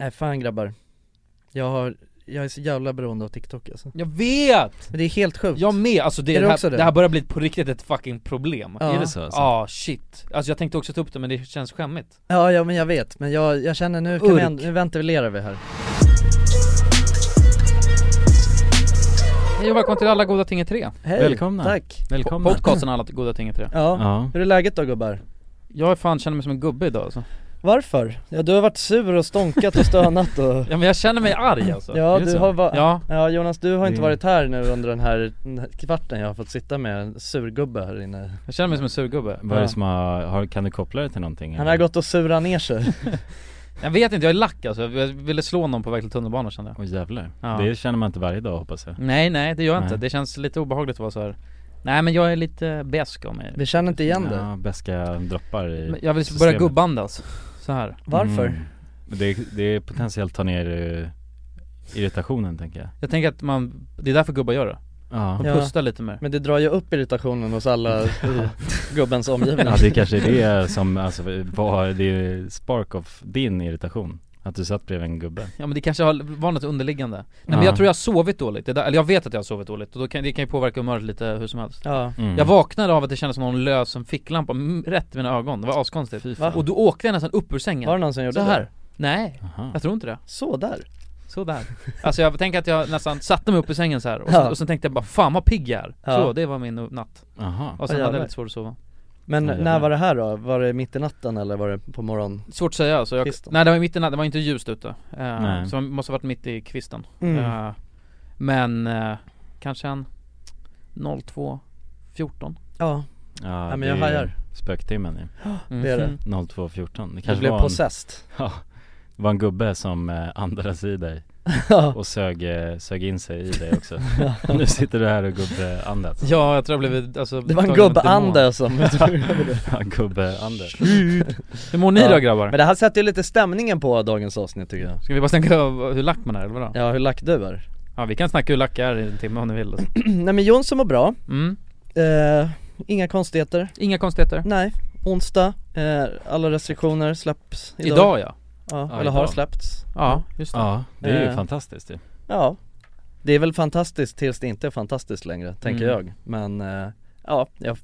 Nej fan grabbar Jag har, jag är så jävla beroende av TikTok alltså Jag vet! Men det är helt sjukt Jag med, alltså det, Är det, du här, också det? det? här börjar bli på riktigt ett fucking problem Ja Ja. Är det så alltså? ah, shit, alltså jag tänkte också ta upp det men det känns skämmigt Ja, ja men jag vet, men jag, jag känner nu kan Urk. vi, änd- nu ventilerar vi här Hej och välkommen till alla goda ting i tre Hej, Välkomna. Tack! Välkomna Podcasten alla goda ting i tre Ja. Ja, hur är läget då gubbar? Jag är fan känner mig som en gubbe idag alltså Varför? Ja du har varit sur och stånkat och stönat och Ja men jag känner mig arg alltså Ja är det du så? har va- ja. Ja, Jonas du har inte Det- varit här nu under den här den här kvarten jag har fått sitta med en surgubbe här inne jag känner mig som en surgubbe vad är det som har, har, kan du koppla det till någonting? Han eller? har gått och surat ner sig Jag vet inte, jag är lack alltså, jag ville slå någon på väg till tunnelbanan kände jag Åh jävlar, Ja. det känner man inte varje dag hoppas jag Nej nej det gör jag inte, Nej. det känns lite obehagligt att vara så här. Nej men jag är lite besk av mig Vi känner inte igen dig ja, bäska droppar i Men Jag vill börja systemet. gubbandas, så här. Varför? Mm. Det, det potentiellt tar ner eh, irritationen tänker jag Jag tänker att man, det är därför gubbar gör det, Ja, de Ja. pustar lite mer Men det drar ju upp irritationen hos alla i gubbens omgivning ja det kanske är det som alltså, var det är spark of din irritation Att du satt bredvid en gubbe Ja men det kanske har, var något underliggande Nej men Ja. jag tror jag har sovit dåligt, det där, eller jag vet att jag har sovit dåligt och då kan, det kan ju påverka humöret lite hur som helst Ja, Mm. Jag vaknade av att det kändes som någon lös en ficklampa mm, rätt i mina ögon, det var askonstigt Fy fan. Och då åkte jag nästan upp ur sängen var det någon som gjorde Så det? här. Nej, Aha. jag tror inte det Så där. Så där. Alltså jag tänker att jag nästan satte mig upp i sängen så här och, Ja. sen, och sen tänkte jag bara fan vad pigg jag är. Så Ja. det var min natt. Aha. Och sen Åh, hade jag jävlar. lite svårt att sova. Men Ja, jävlar. när var det här då? Var det mitt i natten eller var det på morgonen? Svårt att säga alltså, jag, Kvisten. nej det var mitt i natten, det var inte ljust ute. Eh, Nej. så man måste ha varit mitt i kvisten. Mm. Mm. Eh, men eh, kanske en 02.14 Ja, Ja, Ja, men det jag är hajar. Spöktimmen ju mm. Det är det. 02.14 Det du kanske blev var en, possessed ja, det var en gubbe som eh, andades i dig Ja, och sög, eh, sög in sig i dig också Nu sitter du här och gubbeandas Ja jag tror jag blev alltså, det var en tagen av demon. gubbe-ande som Ja, gubbeandas Hur mår ni Ja. då grabbar? Men det här sätter ju lite stämningen på dagens avsnitt tycker jag Ska vi bara snacka om hur lack man är eller vadå? Ja. Ja, hur lack du är vi kan snacka hur lack jag är i en timme om ni vill alltså. Nej men Jonsson mår bra, mm. eh, inga konstigheter Inga konstigheter Nej, onsdag, eh, alla restriktioner släpps idag, Idag, ja Ja, Ja, eller har idag. släppts Ja, just det Ja, det är ju Eh. fantastiskt ju Ja, det är väl fantastiskt tills det inte är fantastiskt längre, tänker Mm. jag Men, eh, ja, jag,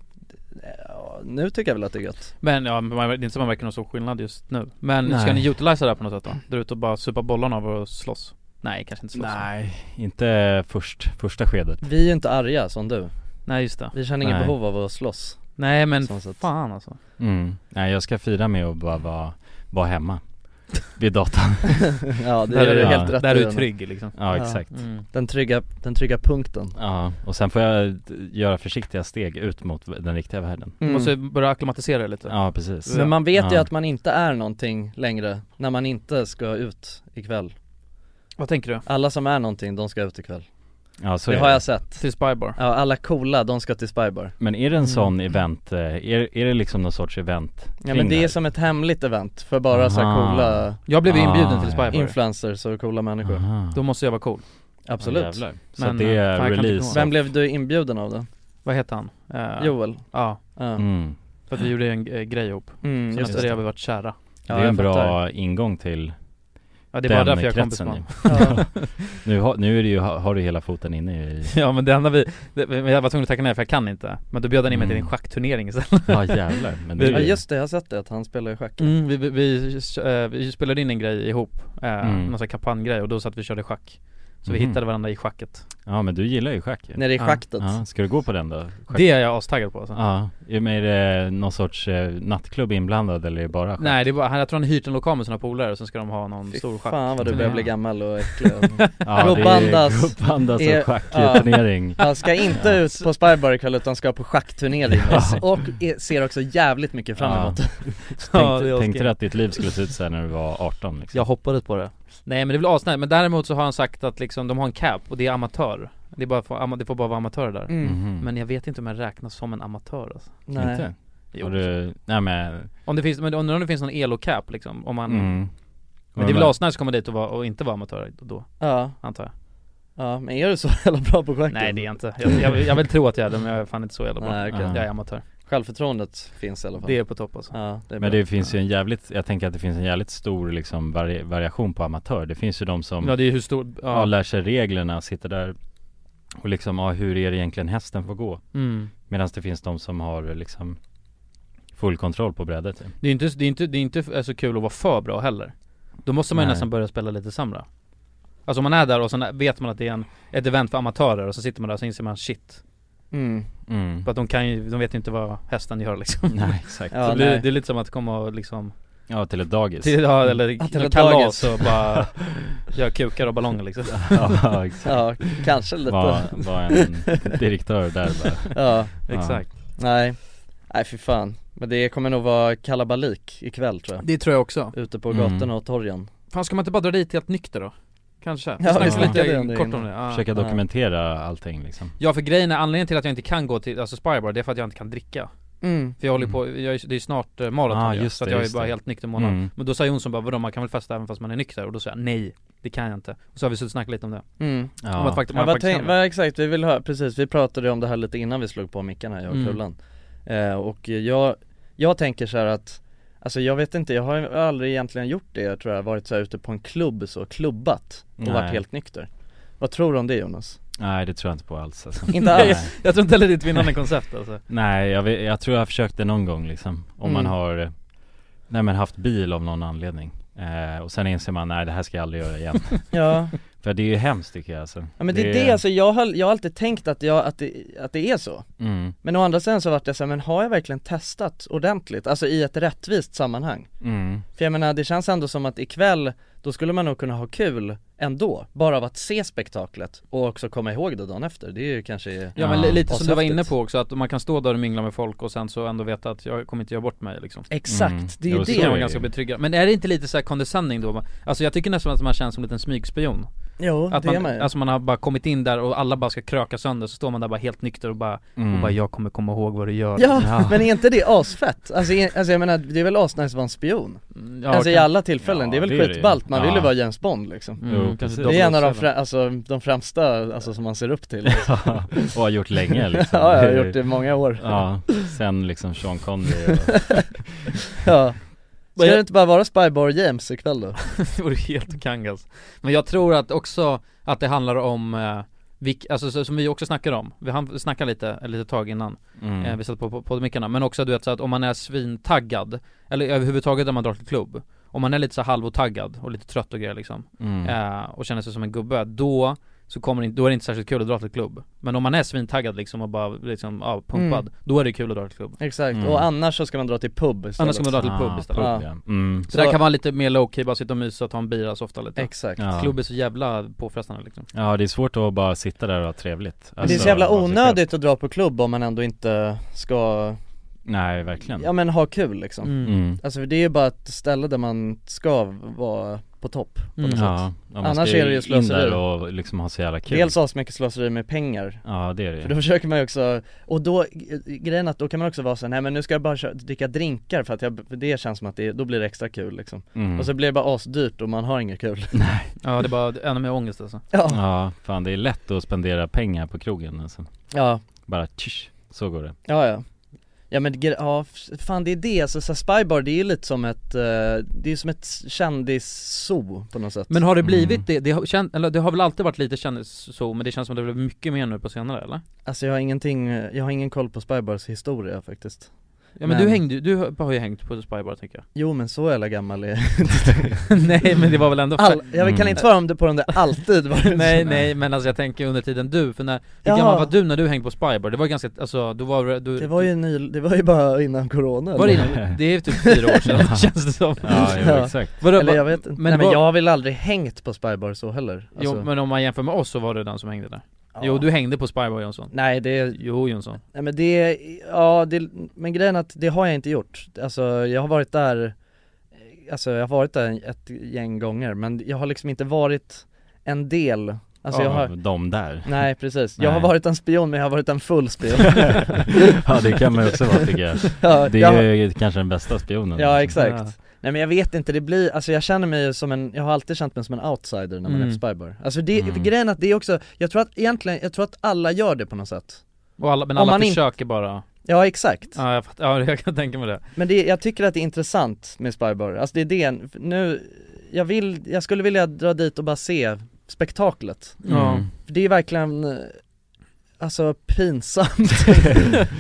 ja, nu tycker jag väl att det är gött Men ja, men man- det är inte så man märker någon stor skillnad just nu Men Nej. ska ni utilisa det här på något sätt då? Dra ut och bara supa bollarna av och slåss? Nej kanske inte slåss Nej, inte först, första skedet Vi är ju inte arga som du, Nej just det vi känner inget Nej. behov av att slåss Nej men Sånt sätt. fan alltså mm. Nej jag ska fira med att bara vara, vara hemma Vid datorn Ja det Där är är du du- helt rätt Där är i du den. trygg liksom Ja Ja. exakt mm. Den trygga, den trygga punkten Ja, och sen får jag eh, göra försiktiga steg ut mot den riktiga världen Mm. Måste börja acklimatisera det lite Ja precis Men man vet ju Ja. att man inte är någonting längre när man inte ska ut ikväll Vad tänker du? Alla som är någonting, de ska ut ikväll Ja så Det är har det. jag sett Till Spybar? Ja, alla coola, de ska till Spybar Men är det en sån event, eh, är, är det liksom någon sorts event Ja kring men det är här? som ett hemligt event för bara så Ah. här Aha. coola Jag blev inbjuden Ah, till ja. Spybar influencers och coola människor Aha. Då måste jag vara cool Absolut Ja, jävlar. så Men, att det eh, är fan, jag kan inte release komma. Vem blev du inbjuden av då? Vad heter han? Eh, Joel? Ja, Ja, mm. för att vi gjorde en eh, grej ihop mm, Sen just efter det det har vi varit kära Det Ja, är jag en bra fattar. ingång till Ja det är bara den därför jag är kompis kretsen med honom. ja. nu, har, nu är det ju, har har du hela foten inne i Ja men det enda vi, det, men jag var tvungen att tacka nej för jag kan inte Men då bjöd han in mig till en Mm. schackturnering istället Ja jävlar men det är ja ju, just det, jag har sett det att han spelar i schack Mm, vi, vi, vi, eh, vi spelade in en grej ihop, eh, Mm. någon sån här kampanjgrej och då satt vi och körde schack Så vi Mhm. hittade varandra i schacket Ja men du gillar ju schack ju Nere i Ja. schaktet ja, Ska du gå på den då? Schack? Det är jag astaggad på alltså. Ja, är men är det någon sorts eh, nattklubb inblandad eller är det bara schack? Nej det är bara, han- jag tror han har hyrt en lokal med sina polare och sen ska de ha någon Fy stor schack Fan vad du börjar bli Ja. gammal och äcklig ja, Gubbandas. Gubbandas Är- och schack i ja. turnering Han ska inte ut på Spybar ikväll utan ska på schackturnering Ja. och är- ser också jävligt mycket fram emot det Ja, det Tänkte, är tänkte askul. du att ditt liv skulle se ut såhär när du var 18 liksom? Jag hoppades på det Nej men det är väl asnära, men däremot så har han sagt att liksom, de har en cap och det är amatör Det, är bara för, ama- det får bara vara amatörer där Mhm. mm, Men jag vet inte om jag räknas som en amatör alltså. Mm. Nej. Inte? Jo. Har du, nej men, Om det finns, men undrar om det finns någon elo-cap liksom, om man mm. Men det är väl asnice att komma dit och, vara, och inte vara amatör då, Ja, antar jag ja, men är du så jävla bra på schack? Nej det är jag inte, jag, jag, jag vill tro att jag är det men jag är fan inte så jävla bra Nej, okej. Jag är amatör Självförtroendet finns i alla fall Det är på topp alltså Ja, det är Men bra. det finns ju en jävligt, jag tänker att det finns en jävligt stor liksom vari- variation på amatör Det finns ju de som Ja det är hur stor, ja, ja, lär sig reglerna och sitter där och liksom, ja hur är det egentligen hästen får gå? mm. Medan det finns de som har liksom full kontroll på brädet typ. Det är inte, det är inte, det är inte så kul att vara för bra heller Då måste man ju Nej. nästan börja spela lite sämre Alltså om man är där och sen vet man att det är en, ett event för amatörer och så sitter man där och så inser man shit mm. mm. För att de kan ju, de vet ju inte vad hästen gör liksom Nej exakt, Ja, så det, nej. det är lite som att komma och liksom ja till ett dagis till, ja, eller Att det är kalas dagis. och bara göra kukar och ballonger liksom Ja exakt, Ja, kanske lite var, var en direktör där bara Ja, Exakt nej Nej för fan Men det kommer nog vara kalabalik ikväll tror jag Det tror jag också Ute på Mm. gatorna och torgen Fan ska man inte bara dra dit helt nykter då? Kanske? Ja, Snacka vi lite snackade om det kort innan. om det ja. Försöka dokumentera allting liksom ja för grejen är, anledningen till att jag inte kan gå till, alltså Spybar, det är för att jag inte kan dricka mm. För jag håller på, jag, är- det är ju snart eh, maraton Ah, ju, just så att det, jag är just bara det. helt nykter månad Mm. Men då sa Jonsson bara vadå man kan väl festa även fast man är nykter? Och då sa jag nej, det kan jag inte Och så har vi suttit och snackat lite om det Mm. Ja, om att faktiskt, Ja, man vad, faktiskt tänk, kan det. vad exakt, vi vill höra, precis, vi pratade om det här lite innan vi slog på mickarna, jag och Mm. Kullan eh, Och jag, jag tänker så här att Alltså jag vet inte, jag har ju aldrig egentligen gjort det jag tror jag, varit så här ute på en klubb så, klubbat och Nej. varit helt nykter Vad tror du om det Jonas? nej det tror jag inte på alls alltså. Inte Nej. alls? Jag tror inte heller det är ett vinnande koncept alltså Nej, jag, vet, jag tror jag har försökt det någon gång liksom Om man Mm. har eh, Nej men haft bil av någon anledning eh, Och sen inser man, nej det här ska jag aldrig göra igen Ja, För det är ju hemskt tycker jag alltså ja men det är det alltså, jag har, jag har alltid tänkt att, jag, att, det, att det är så mm, Men å andra sidan så vart jag såhär, men har jag verkligen testat ordentligt? Alltså i ett rättvist sammanhang? mm, För jag menar det känns ändå som att ikväll, då skulle man nog kunna ha kul ändå Bara av att se spektaklet och också komma ihåg det dagen efter, det är ju kanske Ja men Ja. li- lite som du var inne Ashäftigt. på också, att man kan stå där och mingla med folk och sen så ändå veta att jag kommer inte göra bort mig liksom Exakt, Mm. det är ju Jo, så Det kan det vara ju. ganska betryggande, men är det inte lite så här condescending då? Alltså jag tycker nästan att man känns som en liten smygspion Jo, Att det är man, man ju. alltså man har bara kommit in där och alla bara ska kröka sönder, så står man där bara helt nykter och bara, och mm. bara 'Jag kommer komma ihåg vad du gör' ja, Ja. men är inte det asfett? Alltså, är, alltså jag menar, det är väl asnice att vara en spion? Mm, ja, alltså i kan- alla tillfällen, Ja, det är väl det är det ju. skitballt, man vill ju Ja. vara James Bond liksom Mm, Jo, kanske precis. Det är en av de, dubbelseven. frä, alltså, de främsta, alltså som man ser upp till liksom. Och har gjort länge liksom Ja, jag har gjort det i många år Ja, sen liksom Sean Connery och, Ja Ska Men jag- det inte bara vara Spybar James ikväll då? Det vore helt kangas Men jag tror att också att det handlar om eh, vilk, alltså så, som vi också snackar om, vi hann snacka lite, ett litet tag innan eh, mm, vi satt på, på, på mickarna, men också du vet så att om man är svintaggad, eller överhuvudtaget när man drar till klubb Om man är lite så här halvotaggad och lite trött och grejer liksom, mm, eh, och känner sig som en gubbe, då så kommer det, inte- då är det inte särskilt kul att dra till klubb Men om man är svintaggad liksom och bara liksom, ja, Mm. pumpad, då är det kul att dra till klubb Exakt, Mm. och annars så ska man dra till pub istället Annars ska man dra till pub Ah, istället Ja. ja. Mm. Så, där kan man lite mer low-key, bara sitta och mysa och ta en bira så ofta lite Exakt Ja. Klubb är så jävla påfrestande liksom ja, det är svårt att bara sitta där och ha trevligt Men det är Alltså, så jävla vara sig själv. onödigt att dra på klubb om man ändå inte ska, Nej, verkligen ja men ha kul liksom Mm. Alltså för det är ju bara ett ställe där man ska vara på topp Mm. något Ja, ja, man Annars ska är det ju in slöseri. där och liksom ha så jävla kul Dels har så mycket slöseri med pengar Ja det är det ju. För då försöker man ju också, och då, g- grejen är att då kan man också vara så här, nej men nu ska jag bara köra, dricka drinkar för att jag, för det känns som att det, då blir det extra kul liksom Mm. Och så blir det bara asdyrt och man har inget kul Mm. Ja det är bara ännu mer ångest alltså Ja, Ja, fan det är lätt att spendera pengar på krogen alltså. ja, Bara tsch, så går det ja, ja Ja men gre- ja, f- fan det är det, alltså så här, Spybar det är ju lite som ett, eh, det är som ett kändis-zoo på något sätt Men har det blivit Mm. det, det har, känt, eller det har väl alltid varit lite kändis så, men det känns som att det blev mycket mer nu på senare eller? Alltså jag har ingenting, jag har ingen koll på Spybars historia faktiskt Ja men, Men- du hängde du har har ju hängt på Spybar tänker jag Jo men så jävla gammal är Nej men det var väl ändå All, Jag kan Mm. inte svara om det på den där alltid var det Nej nej men alltså jag tänker under tiden du, för när, hur Jaha. gammal var du när du hängde på Spybar? Det var ganska, alltså då var du, Det var ju ny, det var ju bara innan corona var det, eller? innan- det är typ fyra år sedan känns det som Ja, jo, Ja. exakt Vadå, Eller va- jag vet inte, men nej men vad- jag har väl aldrig hängt på Spybar så heller Jo men om man jämför med oss så var du den som hängde där alltså. ja. Jo du hängde på Spybar Jonsson Nej det, Jo Jonsson nej men det, ja det, men grejen är att det har jag inte gjort Alltså jag har varit där, eh, alltså jag har varit där ett gäng gånger men jag har liksom inte varit en del Alltså jag har, Av De där nej precis, jag har Nej. varit en spion men jag har varit en full spion Ja det kan man ju också vara tycker jag ja, Det jag har- är ju kanske den bästa spionen Ja liksom. exakt, Ja. nej men jag vet inte, det blir, alltså jag känner mig ju som en, jag har alltid känt mig som en outsider när man Mm. är på Spybar Alltså det, Mm. grejen är att det är också, jag tror att egentligen, jag tror att alla gör det på något sätt Och alla, men Om alla man inte- försöker bara Ja exakt, Ja, jag, fatt, ja jag kan tänka mig det men det, jag tycker att det är intressant med Spybar, alltså det är det, nu, jag vill, jag skulle vilja dra dit och bara se spektaklet Mm. Mm. Ja. För det är verkligen, eh, alltså pinsamt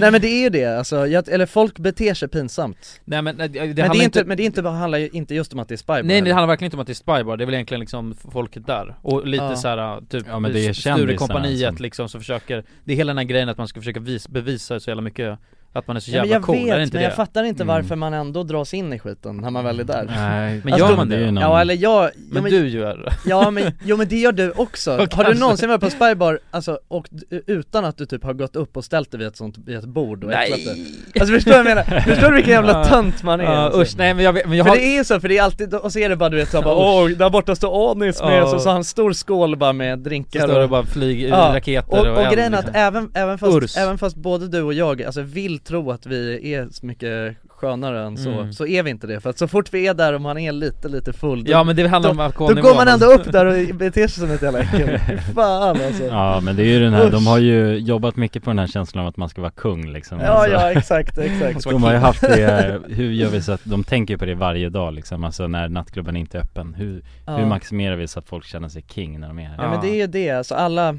Nej men det är ju det, alltså, jag, eller folk beter sig pinsamt Nej men nej, det, det Men det, handlar är inte inte, men det är inte, bara- handlar ju inte just om att det är Spybar Nej det handlar verkligen inte om att det är spybar, det är väl egentligen liksom folket där och lite Ja. så här typ Ja, men det är Sture kändisarna kompaniet som- liksom som försöker Det är hela den här grejen att man ska försöka vis, bevisa så jävla mycket Att man är så ja, men jävla jag cool, vet, är det inte men det? Mm. jag fattar inte Mm. varför man ändå dras in i skiten när man väl är där Nej, alltså, Men gör man är det? ju någon- Ja eller jag, jo, men, men, du gör det ja men, jo men det gör du också. Och har kanske- du någonsin varit på Spybar, alltså, och d- utan att du typ har gått upp och ställt dig vid ett sånt, vid ett bord och äcklat dig? Alltså förstår du vad jag menar? Förstår du vilken jävla Ja. tönt man är? Ja alltså? usch, nej men jag vet, men jag För har det är ju så, för det är alltid, och så är det bara du vet såhär bara Ja, åh, där borta står Anis med, Ja. och så, så har han en stor skål bara med drinkar Så står det bara flyg, Ja, raketer och, och eld, grejen är att liksom. även, även, fast, Urs. även fast både du och jag alltså, vill tro att vi är så mycket skönare än så, Mm. så är vi inte det. För att så fort vi är där och man är lite lite full, då, Ja men det handlar om då alkoholnivån går man ändå upp där och beter sig som ett jävla äckel. Fy Fan alltså. Ja. Ja men det är ju den här, Usch. de har ju jobbat mycket på den här känslan av att man ska vara kung liksom Ja Alltså, exakt, exakt. De har ju haft det, eh, hur gör vi så att, de tänker ju på det varje dag liksom, alltså när nattklubben inte är öppen Hur, Ja. hur maximerar vi så att folk känner sig king när de är här? ja men det är ju det, alltså alla,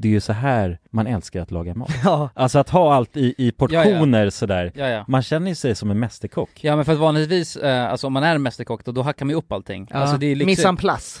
det är ju så här man älskar att laga mat. Ja, Alltså att ha allt i, i portioner sådär. Ja ja Man känner ju sig som en mästerkock. Ja men för att vanligtvis, eh, alltså om man är mästerkock då, då hackar man ju upp allting ja. Alltså det är liksom, Miss en place.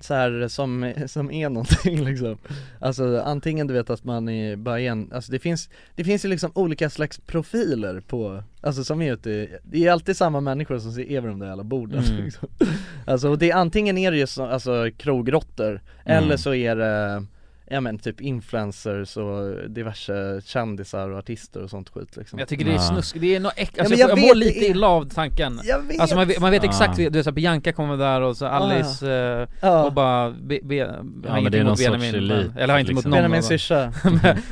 Så här som, som är någonting liksom Alltså antingen du vet att man är bara är en, alltså det finns, det finns ju liksom olika slags profiler på, alltså som är ute, i- det är alltid samma människor som ser över de där jävla borden Mm. liksom. Alltså och det är antingen är det ju så, alltså krogrotter Mm. eller så är det Ja men typ influencers och diverse kändisar och artister och sånt skit liksom Jag tycker det är Ja. snusk, det är nå äck... alltså, men jag jag, jag, vet, mår det lite är- illa av tanken Jag vet! Alltså man vet, man vet Ja. exakt, du vet såhär Bianca kommer där och så Alice eh, ja, och bara be, be, ja, men det är någon sorts elit, men, Eller har inte liksom. mot någon Benjamin av dem. syrsa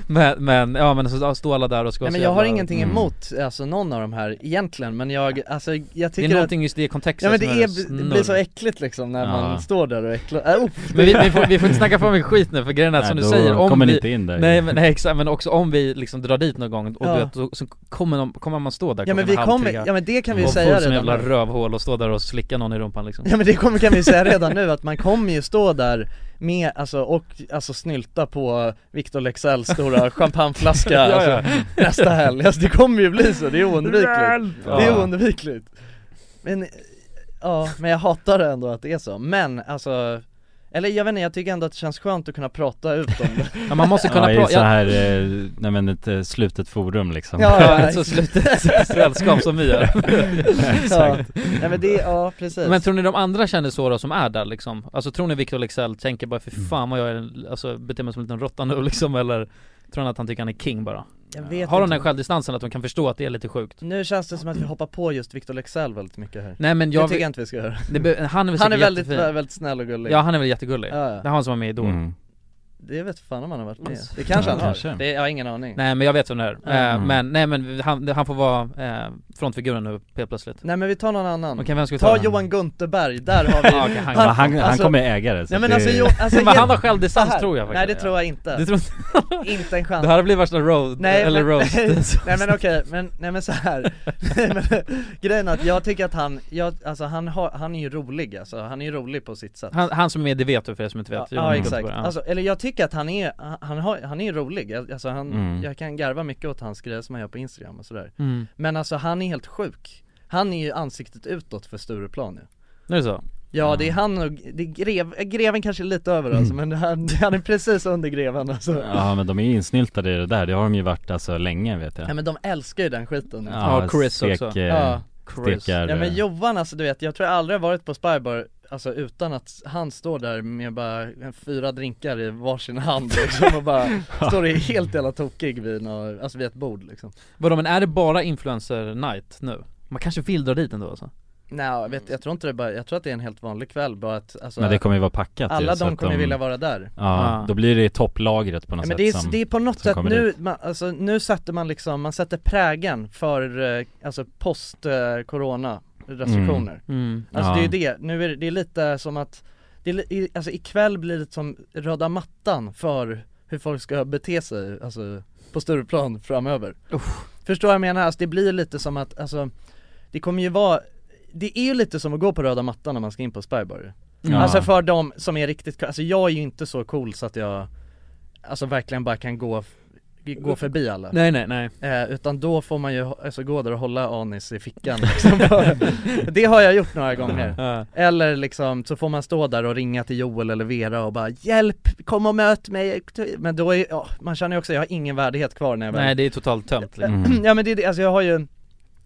men, men, ja men så står alla där och ska Nej vara men så jag har jävla- ingenting Mm. emot, alltså någon av de här egentligen men jag, alltså jag Det är tycker att någonting just i kontexten Ja men det, som är, det snurr. blir så äckligt liksom när Ja. man står där och äcklar, äh, oh, Men vi, vi, får, vi får inte snacka för mycket skit nu för grejen är Äh, att som du säger, om vi, in där. Nej men nej, exakt, men också om vi liksom drar dit någon gång och Ja. du vet, så, så kommer, någon, kommer man stå där Ja men klockan vi halv kommer, tre ja men det kan vi ju och säga som redan jävla nu rövhål och stå där och slicka någon i rumpan liksom Ja men det kommer, kan vi säga redan nu att man kommer ju stå där med, alltså och, alltså snylta på Victor Leksells stora champagneflaska Ja, ja. alltså, nästa helg, alltså det kommer ju bli så, det är oundvikligt Det är Ja. oundvikligt Men, ja, men jag hatar ändå att det är så, men alltså eller jag vet inte, jag tycker ändå att det känns skönt att kunna prata ut om det Ja man måste kunna prata, ja, här, nej men ett eh, slutet forum liksom. ja, så slutet sällskap som vi gör Exakt ja. Nej men det, ja precis Men tror ni de andra känner så då som är där liksom? Alltså tror ni Victor Leksell tänker bara för Mm. fan vad jag är, en- alltså beter mig som en liten råtta nu liksom eller Tror han att han tycker han är king bara? jag vet Har de inte. den självdistansen att de kan förstå att det är lite sjukt? Nu känns det som att vi hoppar på just Victor Leksell väldigt mycket här Nej men Det jag, tycker vill- jag inte vi ska göra det, be- han är väl Han är säkert väldigt, jättefin. väldigt snäll och gullig Ja han är väl jättegullig? Ja, Mm. Det ja. är han som var med i Mm. Idol Det vet fan om han har varit med Alltså. Det kanske Ja, han har, kanske. Det, jag har ingen aning Nej. Nej men jag vet vem det är, Ja. eh, men nej men han, han får vara eh, frontfiguren nu helt plötsligt Okej men vi tar någon annan vem ska vi ta? Ta då? Johan Gunterberg, där har vi Ja, okej, han, han, alltså- äga det. så Nej men det- alltså, jo, alltså men han har så här. självdistans tror jag Nej faktiskt det tror jag inte, Du tror inte? inte en Det chans här blir värsta road, Nej, eller men- roast Nej men okej, men, nej men så här. Nej, men, Grejen är att jag tycker att han, jag, alltså han, har, han är ju rolig alltså, han är ju rolig på sitt sätt han, han som är med i Det vet du för er som inte vet Ja, Johan ja Guttenberg, exakt, alltså, eller jag tycker att han är, han, har, han är rolig, alltså han, Mm. jag kan garva mycket åt hans grejer som han gör på instagram och sådär mm. Men alltså han är helt sjuk, han är ju ansiktet utåt för Stureplan ju Nu är det så? Ja det är han och, det är grev, greven kanske är lite över alltså, Mm. men han, han är precis under greven alltså. ja. Ja men de är ju insnyltade i det där, det har de ju varit alltså länge vet jag men de älskar ju den skiten ja. Ja, Chris också. eh, Ja. Chris. Stekar, Nej men eh, Johan alltså du vet, jag tror jag aldrig har varit på Spybar Alltså utan att han står där med bara fyra drinkar i varsin hand liksom och bara står i helt jävla tokig vid, nå- alltså vid ett bord liksom Vadå men är det bara influencer night nu? Man kanske vill dra dit ändå alltså? Nej jag, vet, jag tror inte det bara, jag tror att det är en helt vanlig kväll bara att alltså, Men det kommer ju vara packat ju, alla så de att kommer vilja vara där Ja, Ah. då blir det topplagret på något Ja, men sätt det är, som det är på något som sätt kommer nu, man, alltså, nu sätter man liksom, man sätter prägen för eh, alltså post eh, corona restriktioner Mm. Alltså Ja. det är ju det, nu är det, det är lite som att, det är, li- i- alltså ikväll blir det som röda mattan för hur folk ska bete sig, alltså på större plan framöver Förstår vad jag menar? Alltså det blir lite som att, alltså det kommer ju vara, det är ju lite som att gå på röda mattan när man ska in på Spybar Ja. Alltså för de som är riktigt co- alltså jag är ju inte så cool så att jag, alltså verkligen bara kan gå, f- gå förbi alla Nej nej nej Eh, utan då får man ju alltså, gå där och hålla anis i fickan liksom. Det har jag gjort några gånger Ja. Eller liksom, så får man stå där och ringa till Joel eller Vera och bara 'Hjälp, kom och möt mig' Men då är, ja, man känner ju också, jag har ingen värdighet kvar när jag väl Nej det är totalt tömt liksom. Mm. Ja men det är det, alltså jag har ju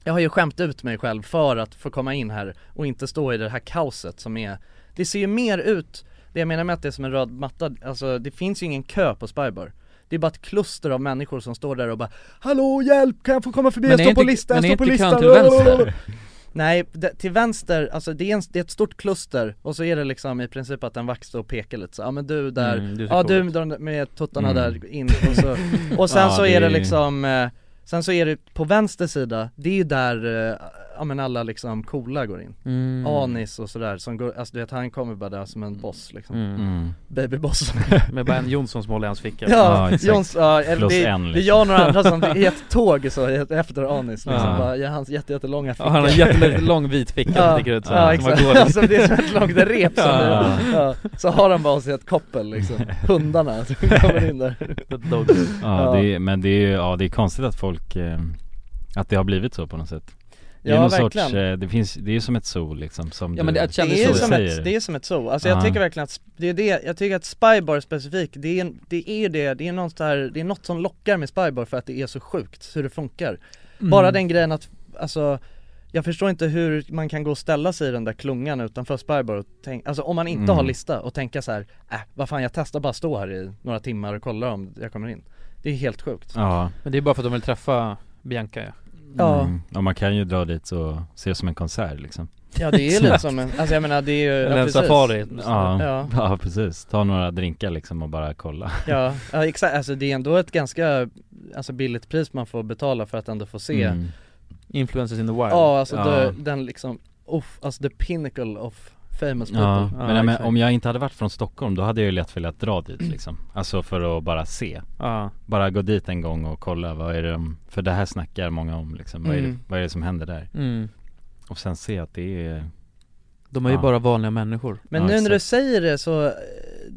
Jag har ju skämt ut mig själv för att få komma in här och inte stå i det här kaoset som är Det ser ju mer ut, det jag menar med att det är som en röd matta, alltså det finns ju ingen kö på Spybar Det är bara ett kluster av människor som står där och bara Hallå hjälp, kan jag få komma förbi? Men Jag är står på inte- listan, men jag är står på inte kön listan till vänster? Nej, det, till vänster, alltså det är, en, det är ett stort kluster och så är det liksom i princip att en vakt står och pekar lite så, ja men du där, Mm, du ser ja cool du ut. de- med tuttarna Mm. där in och så, och sen Ja, så det är det är- liksom eh, Sen så är det på vänster sida, det är ju där, eh, ja men alla liksom coola går in Mm. Anis och sådär som går, alltså du vet han kommer bara där som en boss liksom, Mm. Mm. babyboss Med bara en Jonsson som håller i hans ficka Ja, exakt. Jons, ja eller Plus det, en, det är liksom. jag och några andra som, det är ett tåg så efter Anis liksom, Ja. bara, ja, hans jätte, jättelånga Ja, han har en jättelång vit ficka som sticker ut så ja som man exakt, går alltså det är som ett långt rep som Ja. det- ja. Så har han bara oss i ett koppel liksom, hundarna som kommer in där The dogs. Ja, Ja. Det är, men det är ju, ja det är konstigt att folk, eh, att det har blivit så på något sätt Det är Ja, någon verkligen. sorts, eh, det finns, det är ju som ett sol liksom som Ja men du, det, att Det kändis är, så ju du som säger. ett, det är som ett zoo, alltså jag Ja. tycker verkligen att, sp- det är det, jag tycker att Spybar specifikt, det är, en- det är ju det, det är något där, det är något som lockar med Spybar för att det är så sjukt hur det funkar Mm. Bara den grejen att, alltså jag förstår inte hur man kan gå och ställa sig i den där klungan utanför Spybar och tänka, alltså om man inte Mm. har lista och tänka så här, äh, vad fan jag testar bara stå här i några timmar och kolla om jag kommer in Det är helt sjukt Ja, Men det är bara för att de vill träffa Bianca ja. Ja. Mm. och man kan ju dra dit och se det som en konsert liksom Ja det är ju lite Exakt. som en, alltså jag menar det är ju, Eller ja, en precis. safari Ja, Ja. ja. precis, ta några drinkar liksom och bara kolla Ja, ja exakt, alltså det är ändå ett ganska, alltså billigt pris man får betala för att ändå få se Mm. Influencers in the wild Ja alltså Ja. The, den liksom, off, alltså the pinnacle of famous people Ja, men, nej, men exakt. om jag inte hade varit från Stockholm då hade jag ju lätt velat dra dit Mm. liksom Alltså för att bara se Ja. Bara gå dit en gång och kolla vad är det de, för det här snackar många om liksom, vad, är det, Mm. vad är det som händer där? Mm. Och sen se att det är De är ju Ja. bara vanliga människor Men Ja, nu när exakt. du säger det så, eh,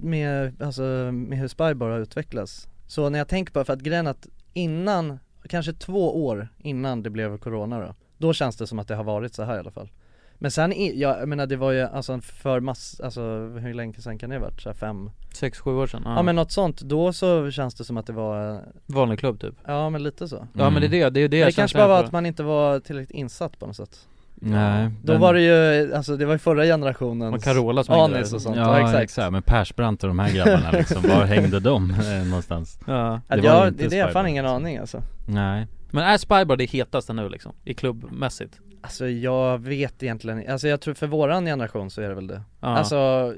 med, alltså, med hur Spybar har utvecklats Så när jag tänker på det, för att grejen är att innan, kanske två år innan det blev Corona då Då känns det som att det har varit så här i alla fall Men sen, i- ja, jag menar det var ju alltså för mass, alltså hur länge sen kan det ha varit? Så här fem? sex sju år sedan, ja. Ja. men något sånt, då så känns det som att det var, eh, vanlig klubb typ ja men lite så Ja Mm. men det är det, det är det Det, jag det känner kanske bara så här var för. att man inte var tillräckligt insatt på något sätt Nej, Då den- var det ju, alltså det var ju förra generationens Och Carola som hängde anis där. och sånt, Ja, exakt. men Persbrandt och de här grabbarna liksom, var hängde de eh, någonstans? ja. Att Det var jag, inte det är det, jag har fan Spider-Man, ingen alltså. aning alltså Nej Men är Spybar det hetaste nu liksom? I klubbmässigt? Alltså jag vet egentligen alltså jag tror för våran generation så är det väl det Ja. Alltså,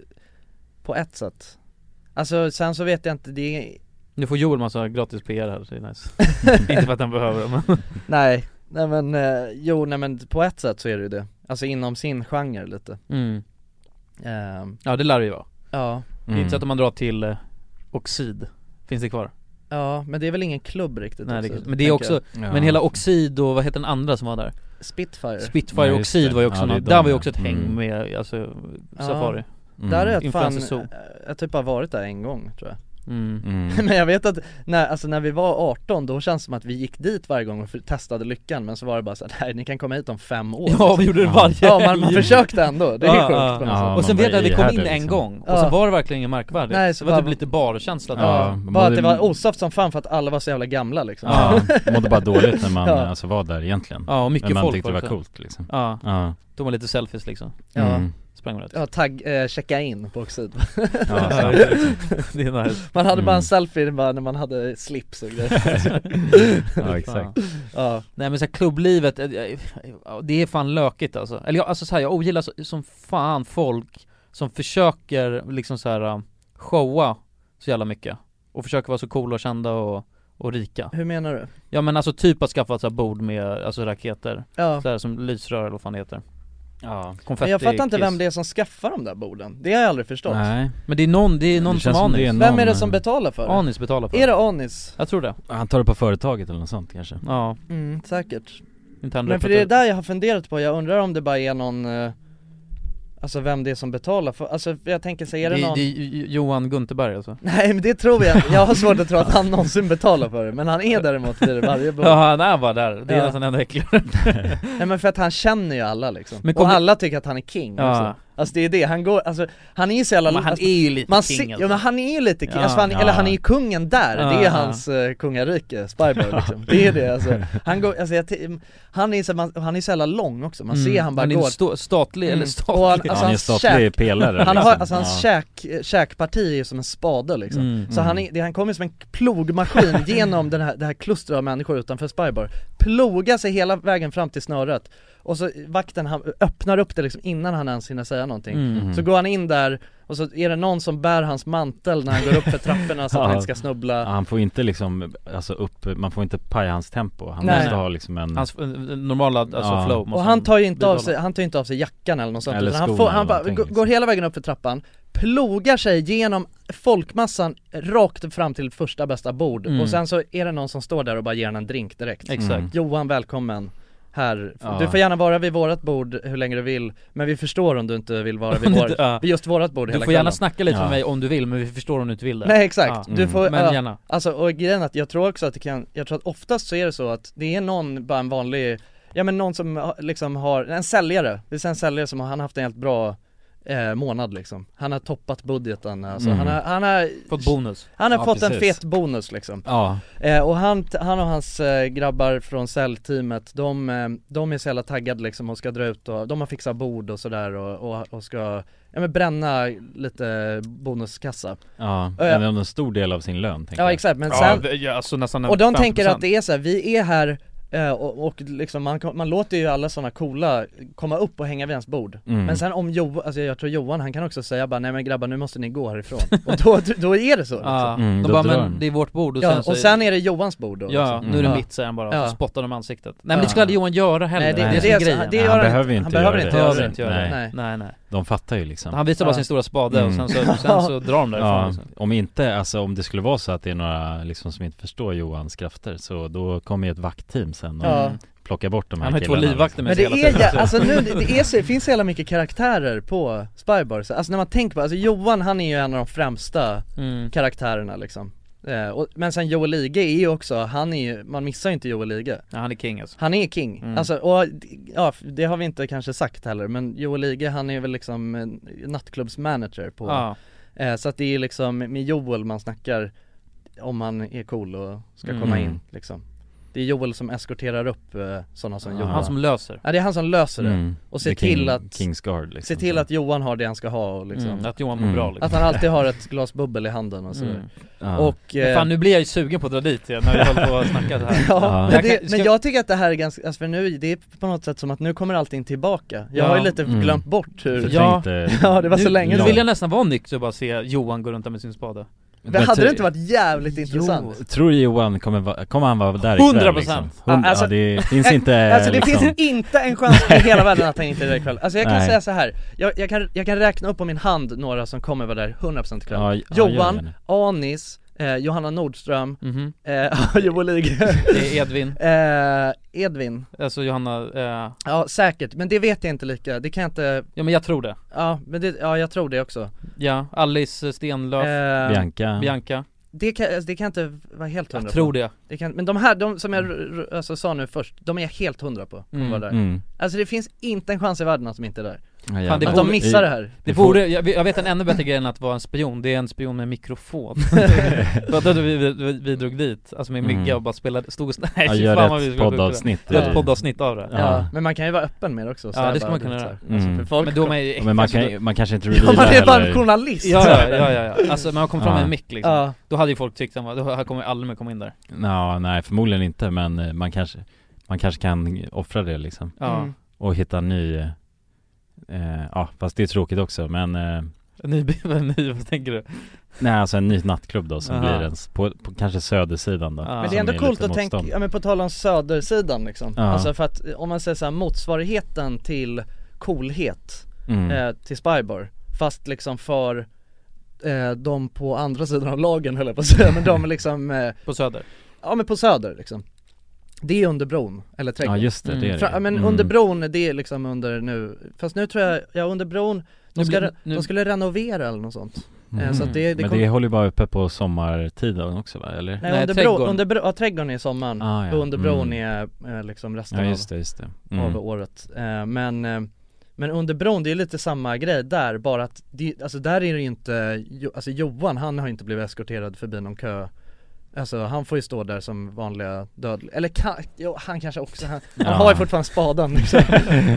på ett sätt Alltså sen så vet jag inte, det är, Nu får Joel massa gratis PR här, så det är nice Inte för att han behöver det men nej, nej men, eh, jo nej men på ett sätt så är det ju det Alltså inom sin genre lite mm. Ehm, Ja det lär det ju vara Ja, Mm. Det är inte så att om man drar till eh, Oxid Finns det kvar? ja men det är väl ingen klubb riktigt Nej, det, också, men det är tänker också, jag. Ja. men hela Oxid och vad heter den andra som var där? Spitfire Spitfire Ja, och just Oxid det. var ju också Ja, det är något, de, där var ju ja. också ett häng Mm. med, alltså, Ja. Safari mm. Där har jag fan, Influencer Zoo. eh, jag har typ bara varit där en gång tror jag Mm. Mm. Men jag vet att när, alltså när vi var 18 då känns det som att vi gick dit varje gång och för- testade lyckan men så var det bara så här, nej ni kan komma hit om fem år Ja, vi gjorde det varje Ja man, man helg. försökte ändå, det är Ja, sjukt ja, på något ja. sätt. Och sen man vet jag var att vi kom in ihärdig, en liksom. gång, och Ja. så var det verkligen ingen markvärdigt Nej, så Det var typ bara- lite barkänsla där. Ja, Ja, bara man- att det var osaft som fan för att alla var så jävla gamla liksom Ja, mådde bara dåligt när man Ja. alltså, var där egentligen. Ja, och mycket Men man folk tyckte det var också. coolt liksom. Ja, Ja, tog man lite selfies liksom, Ja. mm. sprang runt Ja, tagg, eh, checka in på Oxid ja Ja, sant. Det är nice Man hade bara en Mm. selfie bara när man hade slips och grejer ja exakt. Ja, Nej men så här, klubblivet, eh, eh, ja, det är fan lökigt alltså. Eller jag, alltså så här, jag ogillar så, som fan folk som försöker liksom så här eh, showa så jävla mycket. Och försöker vara så coola och kända och, och rika. hur menar du? Ja men alltså typ att skaffa så här bord med, alltså raketer. Ja Så här som lysrör eller vad fan det heter. Ja. Konfetti, men jag fattar inte kiss. vem det är som skaffar de där borden, det har jag aldrig förstått Nej. Men det är någon, det är någon Det som känns som det är Anis. Vem är det någon, som eh, betalar för det? Anis betalar för Är det. det Anis? Jag tror det. Han tar det på företaget eller något sånt kanske. Ja, Mm, säkert inte han Men för det är där jag har funderat på, jag undrar om det bara är någon eh, Alltså vem det är som betalar för, alltså för jag tänker sig, är det, någon? det är J- Johan Gunterberg alltså. Nej men det tror jag, jag har svårt att tro att han någonsin betalar för det, men han är däremot vid det varje bord Ja han är bara där, det är Ja. nästan enda äcklare. Nej men för att han känner ju alla liksom, Men och kommer- alla tycker att han är king Ja. också Alltså det är det, han går, alltså han är ju så jävla, Men han alltså, är ju lite man king ser, alltså. ja, men han är ju lite king, Ja. alltså, han, Ja. eller han är ju kungen där, Ja, det är ja. hans eh, kungarike, Spybar liksom, det är det alltså Han går, alltså jag, t- han är så, man, han är så jävla lång också, man ser Mm. han bara Mm. han är går stå- statlig, Mm. eller Och han- statlig han alltså är en hans statlig käk- pelare Han liksom. har, alltså hans ja. käk, eh, käkparti är ju som en spade liksom Mm. Så han, är, det- han kommer som en plogmaskin genom den här, det här klustret av människor utanför Spybar Plogar sig hela vägen fram till snöret Och så vakten, han öppnar upp det liksom innan han ens hinner säga någonting Mm. Så går han in där och så är det någon som bär hans mantel när han går upp för trapporna så att han Ja. inte ska Ja, snubbla han får inte liksom, alltså upp, man får inte paja hans tempo. Han Nej. måste ha liksom en, Hans eh, normala alltså Ja. flow måste Och han tar ju inte av bibehålla. sig, han tar ju inte av sig jackan eller något sånt Eller utan han, skon får, eller han bara, någonting, går- liksom. går hela vägen upp för trappan Plogar sig genom folkmassan rakt fram till första bästa bord Mm. och sen så är det någon som står där och bara ger honom en drink direkt Exakt Mm. Johan välkommen här, Ja. du får gärna vara vid vårat bord hur länge du vill Men vi förstår om du inte vill vara vid, Om du vår, inte- ja. vid just vårat bord Du hela får gärna kvällen snacka lite Ja. med mig om du vill men vi förstår om du inte vill det Nej exakt, Ja. du Mm. får, Men ja. gärna Alltså och grejen är att jag tror också att det kan, jag tror att oftast så är det så att det är någon, bara en vanlig, ja men någon som har- liksom har, en säljare, det är så en säljare som har, han har haft en helt bra eh, månad liksom. Han har toppat budgeten, alltså Mm. han har, han har, Fått bonus han har Ja, fått en precis. fet bonus liksom. ja, Eh, och han, han och hans eh, grabbar från säljteamet, de, eh, de är så jävla taggade liksom och ska dra ut och, de har fixat bord och sådär och, och, och ska, ja men bränna lite bonuskassa. ja, Ja, ja. men om en stor del av sin lön tänker Ja jag. exakt, men sen, ja, alltså nästan Och de tänker att det är så här, vi är här eh, och, och liksom man, man låter ju alla sådana coola komma upp och hänga vid ens bord Mm. Men sen om Johan, alltså jag tror Johan han kan också säga bara nej men grabbar nu måste ni gå härifrån Och då, då är det så liksom. Ja, Mm, de då bara drar men de. Mm. det är vårt bord och sen ja, så Och sen är det Johans bord då Ja, liksom. nu är det Ja. mitt säger han bara och Ja. så spottar de ansiktet Nej men Ja. det skulle aldrig Johan göra heller, Nej det, det, Nej. det, är är så- som grejen det gör Alltså, Han han behöver inte, inte han behöver göra inte det. göra Behöver det inte göra det, Nej. nej nej, nej. De fattar ju liksom. Han visar bara Ja. sin stora spade och Mm. sen så, sen så drar de därifrån Ja, liksom. om inte, alltså om det skulle vara så att det är några liksom som inte förstår Johans krafter så då kommer ju ett vaktteam sen och Ja. plockar bort de här Han har ju två killarna, livvakter liksom. med Men sig det hela är, tiden ja, alltså nu, det, det är så, det finns så jävla mycket karaktärer på Spybar, Så, alltså när man tänker på, alltså Johan han är ju en av de främsta Mm. karaktärerna liksom eh, och, Men sen Joel Ige är ju också, han är ju, man missar ju inte Joel Ige Ja, han är king alltså Han är king, Mm. alltså och ja, det har vi inte kanske sagt heller men Joel Ige han är väl liksom en nattklubbsmanager på Ja, eh, Så att det är liksom med Joel man snackar om han är cool och ska Mm. komma in liksom Det är Joel som eskorterar upp eh, sådana som Ja. Johan han som löser Ja det är han som löser det, Mm. Och se The King- till att- Kings Guard, liksom. se till att Johan har det han ska ha och liksom mm. Att Johan mår Mm. bra liksom Att han alltid har ett glas bubbel i handen och sådär Mm. ja. Och Men eh, fan nu blir jag ju sugen på att dra dit igen när vi håller på att snacka så här Ja, Ja. men, Jag det, kan- men ska- jag tycker att det här är ganska, alltså för nu, det är på något sätt som att nu kommer allting tillbaka Jag har ju Ja. lite Mm. glömt bort hur, Ja. Förträngt, eh, ja det var så nu, länge Nu sedan vill jag nästan vara nykter och bara se Johan gå runt där med sin spade Men hade tr- det inte varit jävligt intressant? Tror du Johan kommer, va- kommer han vara där 100%. ikväll liksom? Ja, Hund- alltså- ja, det finns Eh, inte Alltså det liksom, finns inte en chans i hela världen att han inte är där ikväll Alltså jag kan Nej. säga så här. Jag, jag, kan, jag kan räkna upp på min hand några som kommer vara där 100% ikväll Ja, ja, gör det Johan, nu. Anis, eh, Johanna Nordström, Mhm. eh, Joel Ige, Det är Edvin, eh, Edvin alltså Johanna, eh, Ja säkert, men det vet jag inte lika, det kan jag inte, ja men jag tror det ja men det, ja jag tror det också Ja, Alice Stenlöf, Eh, Bianca, Bianca det kan, alltså, det kan jag inte vara helt hundra Jag på tror det Det kan, men de här, de som jag r- r- alltså, sa nu först, de är jag helt hundra på kommer Mm, vara där Mm. Alltså det finns inte en chans i världen att de inte är där Ja, Fan, det Att jävlar. de borde- missar det här Det Vi får- vore, jag, jag vet en ännu bättre grej än att vara en spion, det är en spion med mikrofon Fattar du, vi, vi, vi, vi drog dit, alltså med mygga Mm. och bara spelade, stod och sn- nej Ja, fy gör vad vi ett skulle vara sjuka. poddavsnitt Gör ett i- poddavsnitt av det ja. Ja. men man kan ju vara öppen med det också så Ja här det ska bara man kunna direkt göra så här. Alltså, för Mm. folk Men då är man ju Ja, Men man, kanske- kan, man kanske inte Ja revealar man är bara en heller. journalist! Ja ja, ja ja, ja. alltså man kom fram med Ja. en mick liksom, ja. då hade ju folk tyckt att då här kommer jag aldrig mer komma in där Ja, nej förmodligen inte men eh, man kanske, man kanske kan offra det liksom Ja, Mm. och hitta en ny eh, eh, Ja, fast det är tråkigt också men eh, en ny, en ny, vad tänker du? Nej alltså en ny nattklubb då som Aha. blir ens, på, på kanske södersidan då Ja. Men det som är ändå coolt Alltså, lite att tänka, motstånd. ja men på tal om södersidan liksom Ja. Alltså för att eh, om man säger så här, motsvarigheten till coolhet mm. eh, till Spybar Fast liksom för eh, de på andra sidan av lagen höll jag på att säga, men de är liksom, eh, På Söder? ja men på söder liksom Det är under bron, eller Ja trädgården just det, det är Fra- det ja, men Mm. under bron, det är liksom under nu, fast nu tror jag, ja under bron, de, Nu ska, blir- re- nu- de skulle renovera eller något sånt eh, Mm. Så att det, det Men kom, det håller ju bara uppe på sommartiden också va, eller? nej, Nej, under bron, trädgården. under bro, ja, trädgården är i sommaren Ah, ja. och under bron Mm. är eh, liksom resten Ja av- just det, just det av mm. året eh, men, eh, men under bron, det är lite samma grej där bara att det, alltså där är det ju inte Jo- Alltså Johan han har inte blivit eskorterad förbi någon kö Alltså han får ju stå där som vanliga dödliga, eller kan, jo, han kanske också, han, han Ja. har ju fortfarande spaden liksom.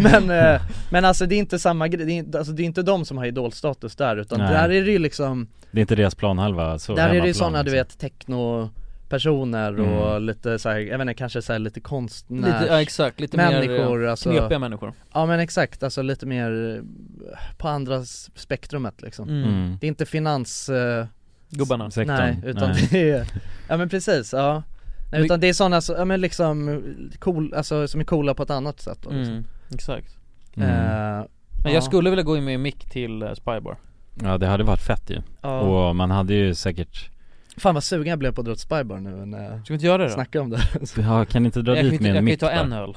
men, eh, men alltså det är inte samma grej, det är, inte- alltså, det är inte de som har idolstatus där utan Nej. där är det ju liksom Det är inte deras planhalva så där är det ju hemmaplan, sådana du liksom. vet technopersoner och Mm. lite såhär, jag vet inte kanske såhär lite konstnärs Lite, ja exakt, lite mer människor eh, alltså knepiga människor Ja men exakt, alltså lite mer eh, på andra s- spektrumet liksom mm. mm. Det är inte finans, eh, Gubbarna Sektorn. nej utan Nej. det är, ja men precis, ja nej, Men- Utan det är sådana, som- ja men liksom, cool, alltså som är coola på ett annat sätt då, liksom. mm. Exakt mm. Eh, Men ja. jag skulle vilja gå in med mick till eh, Spybar Ja det hade varit fett ju ja. Och man hade ju säkert Fan vad sugen jag blev på att dra till Spybar nu när jag Ska vi inte göra det då? snackar om det här. Så- Ja, kan inte dra jag kan dit inte, med en jag kan ju mick ta bara? en öl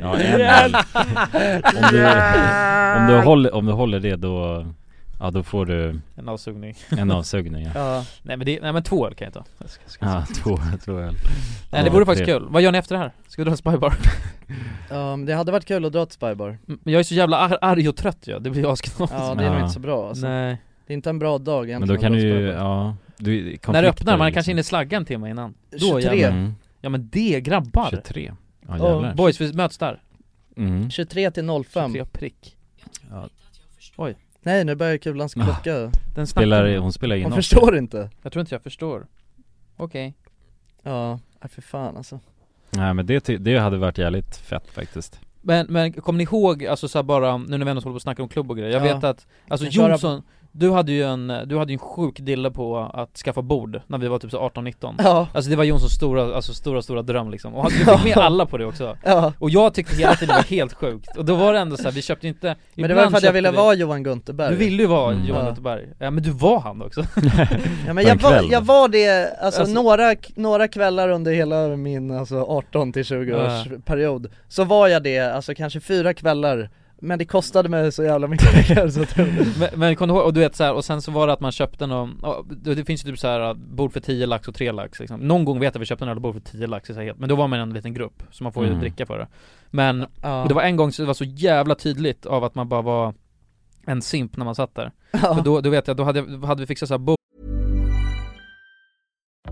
Ja, en öl. Om du, om, du håller, om du håller det då, ja då får du En avsugning en avsugning ja. Ja, Nej men det, nej men två öl kan jag ta jag ska, ska, Ja, två, två öl Nej det vore faktiskt kul, vad gör ni efter det här? Ska vi dra Spybar? ja men det hade varit kul att dra till Spybar Men Jag är så jävla ar- arg och trött jag, det blir asknasigt Ja det är Ja. nog inte så bra alltså. Nej, Det är inte en bra dag egentligen Men då att kan dra du till ju, Spybar. ja, du, när det öppnar, man liksom. kanske hinner slagga en timme innan Då 23. jävlar. Mm. Ja men det, grabbar! 23 Ja Ja, jävlar Boys, vi möts där, mm. 23 till 05 23 prick ja, Nej nu börjar kulans Ah. klocka, Den spelar, snackar Hon spelar in hon också. förstår inte Jag tror inte jag förstår Okej Ja, nej, för fan alltså Nej men det, ty- det hade varit jävligt fett faktiskt Men, men kommer ni ihåg, alltså så här bara, nu när vi ändå håller på att snacka om klubb och grejer, jag Ja. vet att, alltså Kan köra Jonsson, du hade ju en, du hade ju en sjuk dille på att skaffa bord när vi var typ så 18-19 Ja, Alltså det var Jonssons stora, alltså stora, stora dröm liksom, och han- du fick med alla på det också ja Och jag tyckte hela tiden det var helt sjukt, och då var det ändå så här, vi köpte inte Men det ibland var för att jag köpte ville vi- vara Johan Gunterberg Du ville ju vara Mm. Johan Ja. Lotterberg, ja men du var han också ja, men jag, på en var, kväll. jag var det, alltså, Alltså- Några, några kvällar under hela min alltså 18 till 20 års period Så var jag det, alltså kanske fyra kvällar Men det kostade mig så jävla mycket pengar så att Men, men kom du ihåg, och du vet så här, och sen så var det att man köpte någon, ja, det det finns ju typ så här bord för 10 lax och 3 lax liksom. Någon gång vet jag att vi köpte en öl och bord för 10 lax, så här, helt- men då var man en liten grupp, så man får ju Mm. dricka för det Men, ja. och det var en gång så det var så jävla tydligt av att man bara var en simp när man satt där ja. För då, då vet jag, då hade, jag- då hade vi fixat så här bord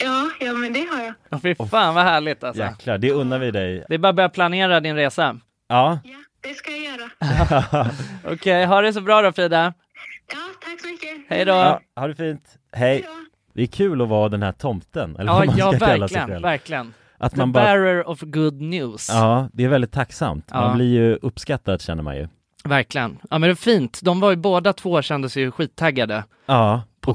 Ja, ja, men det har jag. Åh, Fy fan vad härligt alltså. Jäklar, det unnar vi dig. Det är bara att börja planera din resa. Ja, Ja, det ska jag göra. Okej, ha det så bra då Frida. Ja, tack så mycket. Hej då. ja Ja, ha det fint. Hej. Det är kul att vara den här tomten, eller ja, vad man ska kalla sig verkligen, själv. verkligen. Att The man bara, bearer of good news. ja, det är väldigt tacksamt. Man Ja. blir ju uppskattad känner man ju. Verkligen. Ja men det är fint. De var ju båda två kändes ju skittaggade Ja, på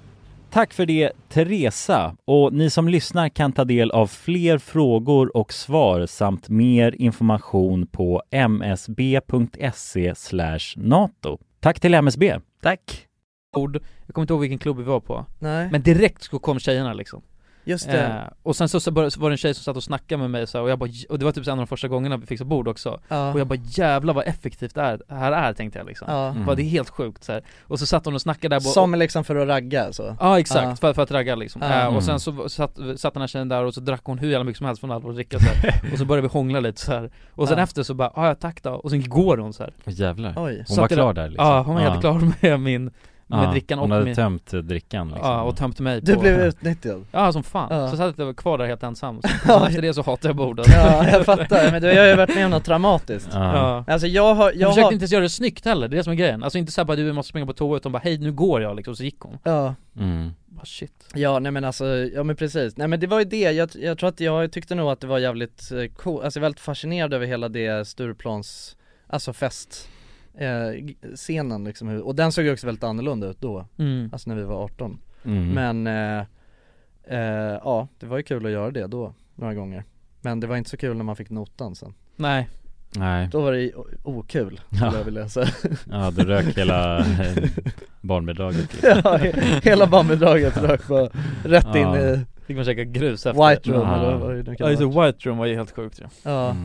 Tack för det Teresa och ni som lyssnar kan ta del av fler frågor och svar samt mer information på msb.se E nato. Tack till MSB. Tack. Ord, jag kommer inte ihåg vilken klubb vi var på Nej. Men direkt så kom tjejerna liksom Just det. Eh, och sen så, så, började, så var det en tjej som satt och snackade med mig så här, och jag bara, och det var typ så en av de första gångerna vi fick så bord också Ja. Och jag bara jävlar vad effektivt det här, här är tänkte jag liksom Ja. Bara, Det är helt sjukt så här. Och så satt hon och snackade där bo- Som liksom för att ragga så? Ja exakt, För, för att ragga liksom. Ja. Eh, Mm. och sen så satt, satt den här tjejen där och så drack hon hur jävla mycket som helst från Alvor dricka så här. Och så började vi hångla lite så här. Och sen Ja. efter så bara, "Ah, ja tack då, och sen går hon så här. Åh, jävlar. Hon Satt var jag klar där, liksom. Ja hon var helt Ja. klar med min, med Ja, drickan och hon hade min... tömt, eh, drickan, liksom. Ja och tömt mig Du på... blev utnyttjad. Ja som fan, Ja. så satt jag kvar där helt ensam Så efter det så hatade jag bordet Ja, jag fattar. Men du, jag har ju varit med om något traumatiskt. Ja. Alltså jag har, jag hon försökte har... inte ens göra det snyggt heller, det är det som är grejen Alltså inte såhär bara du måste springa på toa utan bara hej nu går jag liksom, så gick hon Ja. Mm. Bara, shit Ja nej men alltså, ja men precis. Nej men det var ju det, jag, jag tror att jag tyckte nog att det var jävligt eh, cool, alltså jag är väldigt fascinerad över hela det Stureplans, alltså fest eh, g- scenen liksom, Hur- och den såg ju också väldigt annorlunda ut då, Mm. alltså när vi var 18 Mm. Men, eh, eh, ja det var ju kul att göra det då, några gånger Men det var inte så kul när man fick notan sen Nej Nej. Då var det ju o- okul, skulle jag vilja säga Ja, du rök hela eh, barnbidraget. liksom. Ja, he- hela barnbidraget rök bara rätt in i Fick man käka grus efter White room eller vad det nu kan Ja just vara. det, White Room var ju helt sjukt ju Ja.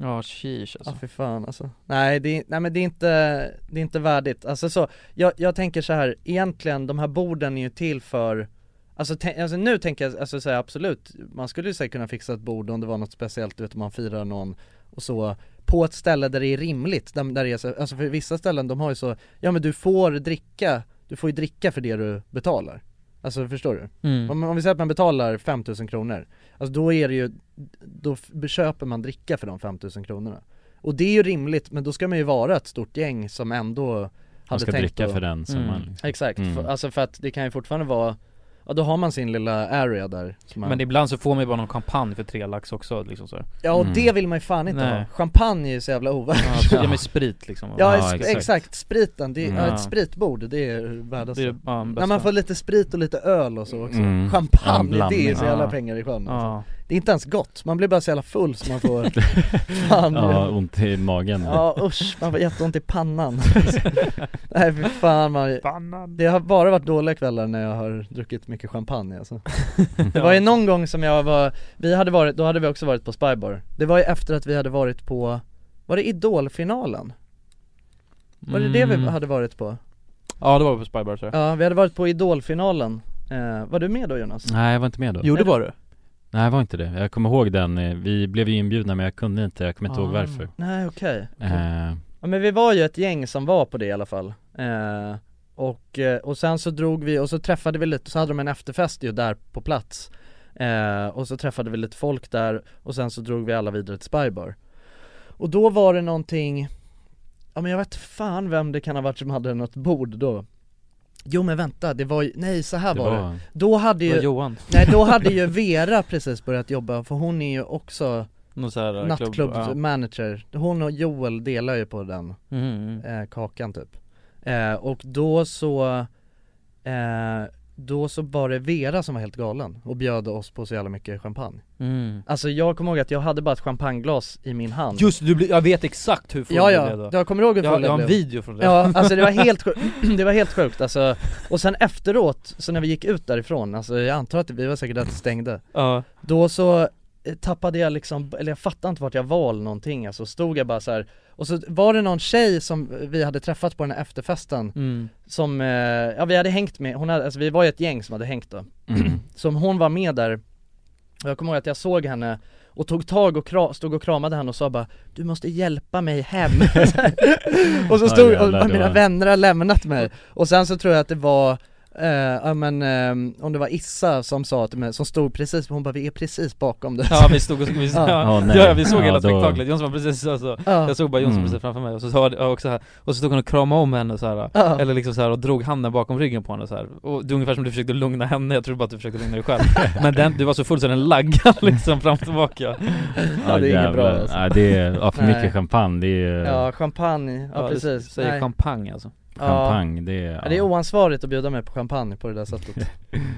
Ja sheesh alltså Ja fy fan alltså. Nej det, är- nej men det är inte, det är inte värdigt. Alltså så, jag, jag tänker så här, egentligen de här borden är ju till för Alltså, tän- alltså nu tänker jag, alltså så här, absolut, man skulle ju säkert kunna fixa ett bord om det var något speciellt, du vet om man firar någon och så På ett ställe där det är rimligt, där, där det är så, alltså för vissa ställen de har ju så, ja men du får dricka, du får ju dricka för det du betalar Alltså förstår du? Mm. Om, om vi säger att man betalar 5000 kronor, alltså då är det ju, då f- köper man dricka för de 5000 kronorna Och det är ju rimligt, men då ska man ju vara ett stort gäng som ändå hade ska tänkt dricka att- för den summan, Mm. liksom. Exakt, Mm. för, alltså för att det kan ju fortfarande vara, ja då har man sin lilla area där som man, Men ibland så får man ju bara någon kampanj för tre lax också liksom så här. Ja Mm. och det vill man ju fan inte Nej. ha, champagne är ju så jävla Ja, ovärt ja men sprit liksom Ja, es- exakt. spriten, det är, Mm. ja, ett spritbord, det är världens Det är det- ja, den När bästa. man får lite sprit och lite öl och så också, Mm. Ja, en champagne, blandning. det är så jävla Ja. pengar i sjön Ja. alltså. Det är inte ens gott, man blir bara så jävla full så man får, fan Ja, ont i magen. Ja usch, man får jätteont i pannan Nej fy fan man, pannan. det har bara varit dåliga kvällar när jag har druckit mycket champagne alltså. Det var ju någon gång som jag var, vi hade varit, då hade vi också varit på Spybar Det var ju efter att vi hade varit på, var det Idolfinalen? Var det det vi Mm. hade varit på? Ja det var på Spybar tror jag Ja, vi hade varit på Idolfinalen eh, Var du med då Jonas? Nej, jag var inte med då. Jo, det var du. Nej, jag var inte det. Jag kommer ihåg den, eh, vi blev ju inbjudna men jag kunde inte, jag kommer inte Ah. ihåg varför. Nej okej Eh, Ja men vi var ju ett gäng som var på det i alla fall eh, och, eh, och sen så drog vi och så träffade vi lite, så hade de en efterfest ju där på plats eh, Och så träffade vi lite folk där och sen så drog vi alla vidare till Spybar Och då var det någonting Ja men jag vet fan vem det kan ha varit som hade något bord då Jo men vänta, det var ju, nej så här Det var, var det han. Då hade Det ju var Johan. Nej då hade ju Vera precis börjat jobba för hon är ju också Någon så här, eh, klubb, ja. typ. Nattklubbsmanager, hon och Joel delar ju på den Mhm. eh, kakan typ eh, Och då så eh, Då så var det Vera som var helt galen och bjöd oss på så jävla mycket champagne Mm. Alltså jag kommer ihåg att jag hade bara ett champagneglas i min hand Just det, du blir, jag vet exakt hur full Ja du blev ja, då. jag kommer ihåg hur jag, full jag har en blev. video från det Ja, alltså det var helt sjukt, det var helt sjukt alltså Och sen efteråt, så när vi gick ut därifrån, alltså jag antar att vi var säkert att det stängde Ja. Då så eh, tappade jag liksom, eller jag fattade inte vart jag var eller någonting alltså, stod jag bara så här. Och så var det någon tjej som vi hade träffat på den här efterfesten Mm. Som, eh, ja vi hade hängt med, hon hade, alltså vi var ju ett gäng som hade hängt då Mm. Som hon var med där och jag kommer ihåg att jag såg henne och tog tag och kra- stod och kramade henne och sa bara Du måste hjälpa mig hem Och så Ja, stod, och jävlar, bara, det mina var- vänner har lämnat mig Och sen så tror jag att det var eh, ja men, eh, om det var Issa som sa till mig, som stod precis, hon bara vi är precis bakom dig Ja vi stod och vi, ja. Ja, Ja, nej. vi såg Ja, hela då- spektaklet, Jonsson var precis alltså, Ja. jag såg bara Jonsson Mm. precis framför mig och så, sa- ja, och så, här, och så stod hon och kramade om henne så här, Ja. eller liksom så här, och drog handen bakom ryggen på henne så här. och det är ungefär som du försökte lugna henne, jag tror bara att du försökte lugna dig själv Men den, du var så full så den laggade liksom fram och tillbaka Ja, det är inget bra, jävlar. alltså. Nej, det är, ja, för Nej. mycket champagne, det är Ja, champagne, ja, Ja, du precis säger Nej. champagne, alltså. Ja. Champagne, det är- ja. det är oansvarigt att bjuda mig på champagne på det där sättet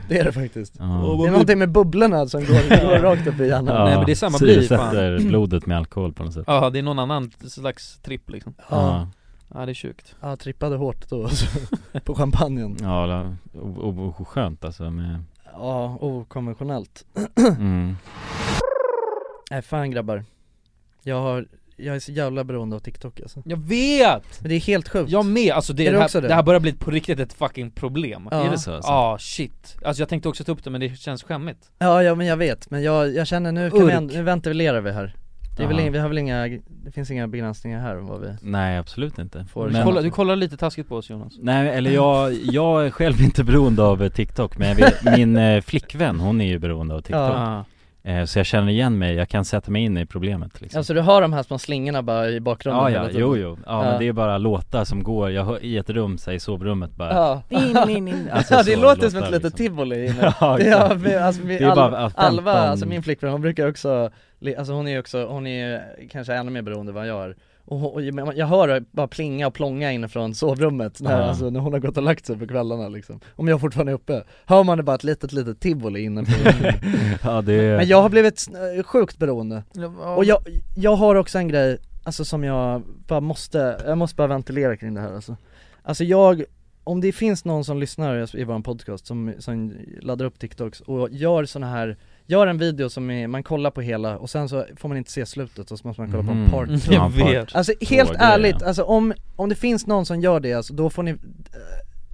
Det är det faktiskt Ja. Det är någonting med bubblorna som går, går rakt upp i hjärnan Ja, Nej, men det är samma bly, syresätter fan. blodet med alkohol på något sätt Ja det är någon annan slags tripp liksom Ja. Ja det är sjukt Ja, trippade hårt då alltså, på champagnen Ja, la- o- o- oskönt alltså med, Ja, okonventionellt mm. Nej fan grabbar Jag har, jag är så jävla beroende av TikTok alltså Jag vet! Men det är helt sjukt Jag med, alltså det, Är det, du här, också det? det? här börjar bli på riktigt ett fucking problem Ja. Är det så, alltså? Ja, shit Alltså jag tänkte också ta upp det men det känns skämmigt Ja, ja men jag vet, men jag, jag känner nu kan vi Urk. ändå, nu ventilerar vi här det är väl Aha. inga, vi har väl inga, det finns inga begränsningar här om vad vi Nej absolut inte Får Men- Kolla, Du kollar lite taskigt på oss Jonas Nej eller jag, jag är själv inte beroende av eh, TikTok men jag vet, min eh, flickvän hon är ju beroende av TikTok Ja. Eh, Så jag känner igen mig, jag kan sätta mig in i problemet liksom. Alltså du har de här små slingorna bara i bakgrunden Ja, hela ja, tiden. jo, jo. Ja, men det är bara låtar som går, jag hör i ett rum, så här, i sovrummet bara Ja. Alltså, ja det så låter som ett låtar, litet liksom. tivoli inne. Ja, det, exakt. är, alltså, Det min, är bara Alva, 15 Alva, alltså min flickvän, hon brukar också, li- alltså hon är ju också, hon är ju kanske ännu mer beroende än vad jag är och, hon- och jag- jag hör det bara plinga och plånga inifrån sovrummet när, Ja. alltså, när hon har gått och lagt sig på kvällarna liksom Om jag fortfarande är uppe, hör man det bara ett litet litet tivoli inne på Ja, det är... Men jag har blivit sn- sjukt beroende Och jag, jag har också en grej, alltså som jag bara måste, jag måste bara ventilera kring det här alltså Alltså jag, om det finns någon som lyssnar i vår podcast som, som laddar upp TikToks och gör såna här Gör en video som är, man kollar på hela och sen så får man inte se slutet och så måste man kolla Mhm. på en part Jag vet. Alltså helt Två grejer. ärligt, alltså om, om det finns någon som gör det alltså, då får ni, eh,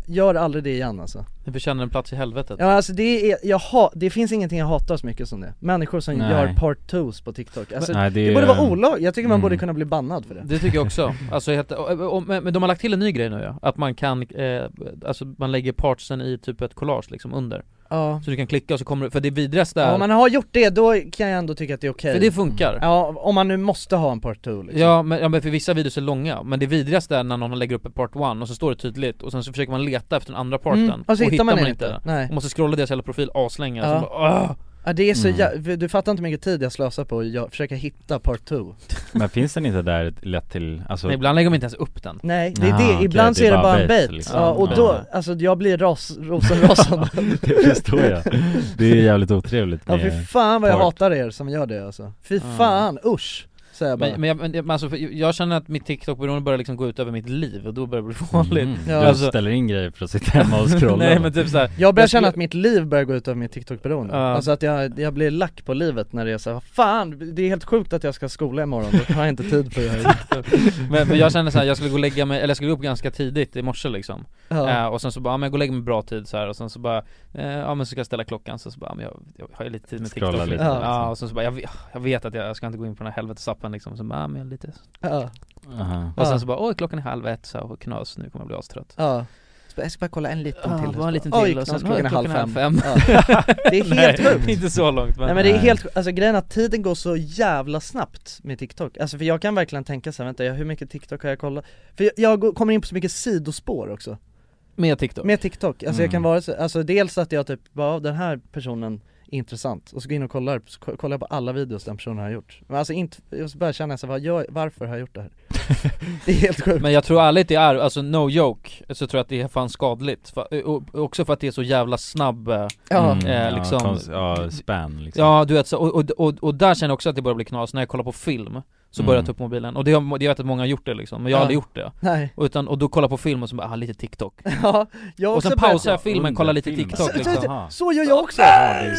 gör aldrig det igen alltså Du förtjänar en plats i helvetet Ja alltså det är, jag ha, det finns ingenting jag hatar så mycket som det Människor som Nej. gör part twos på TikTok, alltså, Nej, det det, är- borde vara olagligt, jag tycker man Mm. borde kunna bli bannad för det Det tycker jag också, alltså, helt, och, och, och, men men de har lagt till en ny grej nu ja, att man kan, eh, alltså man lägger partsen i typ ett collage liksom under Ja. Så du kan klicka och så kommer det, för det vidrigaste Ja, är om man har gjort det, då kan jag ändå tycka att det är okej För det funkar. Ja, om man nu måste ha en part two liksom. Ja men, ja men för vissa videos är långa, men det vidrigaste är när någon lägger upp ett part one och så står det tydligt och sen så försöker man leta efter den andra parten Mm, och så hittar man den inte. Nej. Och måste scrolla deras hela profil aslänge Ja. ja. bara, "Åh!" ja det är så Mm. jä- du fattar inte hur mycket tid jag slösar på att jag- försöka hitta part two Men finns den inte där lätt till, alltså Nej, ibland lägger de inte ens upp den Nej, det är Ah, det, okej, ibland det så är är det bara bara en bait, bait, liksom. ja, och Ja. då, alltså jag blir ras, rosenrasande Det förstår jag, det är jävligt otrevligt Ja fy fan vad jag part. Ah. hatar er som gör det alltså, fy Ja. fan, usch säger jag bara Men, men, jag, men jag- men alltså, för jag känner att mitt TikTok-beroende börjar liksom gå ut över mitt liv och då börjar det bli farligt Mm. Ja. Du Alltså- ställer in grejer för att sitta hemma och scrolla Nej men typ såhär Jag börjar känna skulle- att mitt liv börjar gå ut över mitt TikTok-beroende Ja. Alltså att jag, jag blir lack på livet när det är så här, fan det är helt sjukt att jag ska skola imorgon, då har jag inte tid för det här men, men jag kände såhär, jag skulle gå och lägga mig, eller jag skulle gå upp ganska tidigt i morse liksom Ja. eh, Och sen så bara, ja, men jag går och lägger mig bra tid så här och sen så bara eh, Ja men så ska jag ställa klockan, så, så bara, ja, men jag, jag har ju lite tid med Scrolla TikTok lite, ja. liksom. och sen så bara, jag, vet- jag vet att jag, jag ska inte gå in på den här helvetesappen liksom, så bara, ja, men jag är lite Ja. Aha. Och Ja. sen så bara, oj klockan är halv ett, så här, och knas, nu kommer jag bli astrött Ja Så jag ska bara kolla en liten till. Ja, bara en liten Oj, till och klockan- sen- klockan är halv fem. halv Ja. fem. Det är helt Nej, sjukt. inte så långt, men- Nej men det är Nej. helt, alltså grejen är att tiden går så jävla snabbt med TikTok Alltså för jag kan verkligen tänka såhär, vänta jag- hur mycket TikTok har jag kollat? För jag, jag går, kommer in på så mycket sidospår också Med TikTok? Med TikTok, alltså jag kan Mm. vara så, alltså dels att jag typ bara, "Ja, den här personen är intressant, och så går jag in och kollar, så ko- kollar jag på alla videos den personen har gjort Men alltså inte, och så börjar jag känna så här, vad gör, varför har jag gjort det här? det är helt sjukt Men jag tror ärligt det är, alltså no joke, så tror jag att det är fan skadligt. För, och, och också för att det är så jävla snabb, eh, Ja. Mm, eh, ja, liksom kons- ja, span, liksom. Ja du vet, så, och, och, och, och där känner jag också att det börjar bli knas, när jag kollar på film så Mm. börjar jag ta upp mobilen, och det har, det vet att många har gjort det liksom, men jag har Ja. aldrig gjort det Nej. Och, utan, och då kollar jag på film och så bara, ah, lite TikTok Ja, jag har Och sen också börjat- pausar jag filmen, kollar lite Under TikTok filmen. Så- liksom Så, så gör jag också!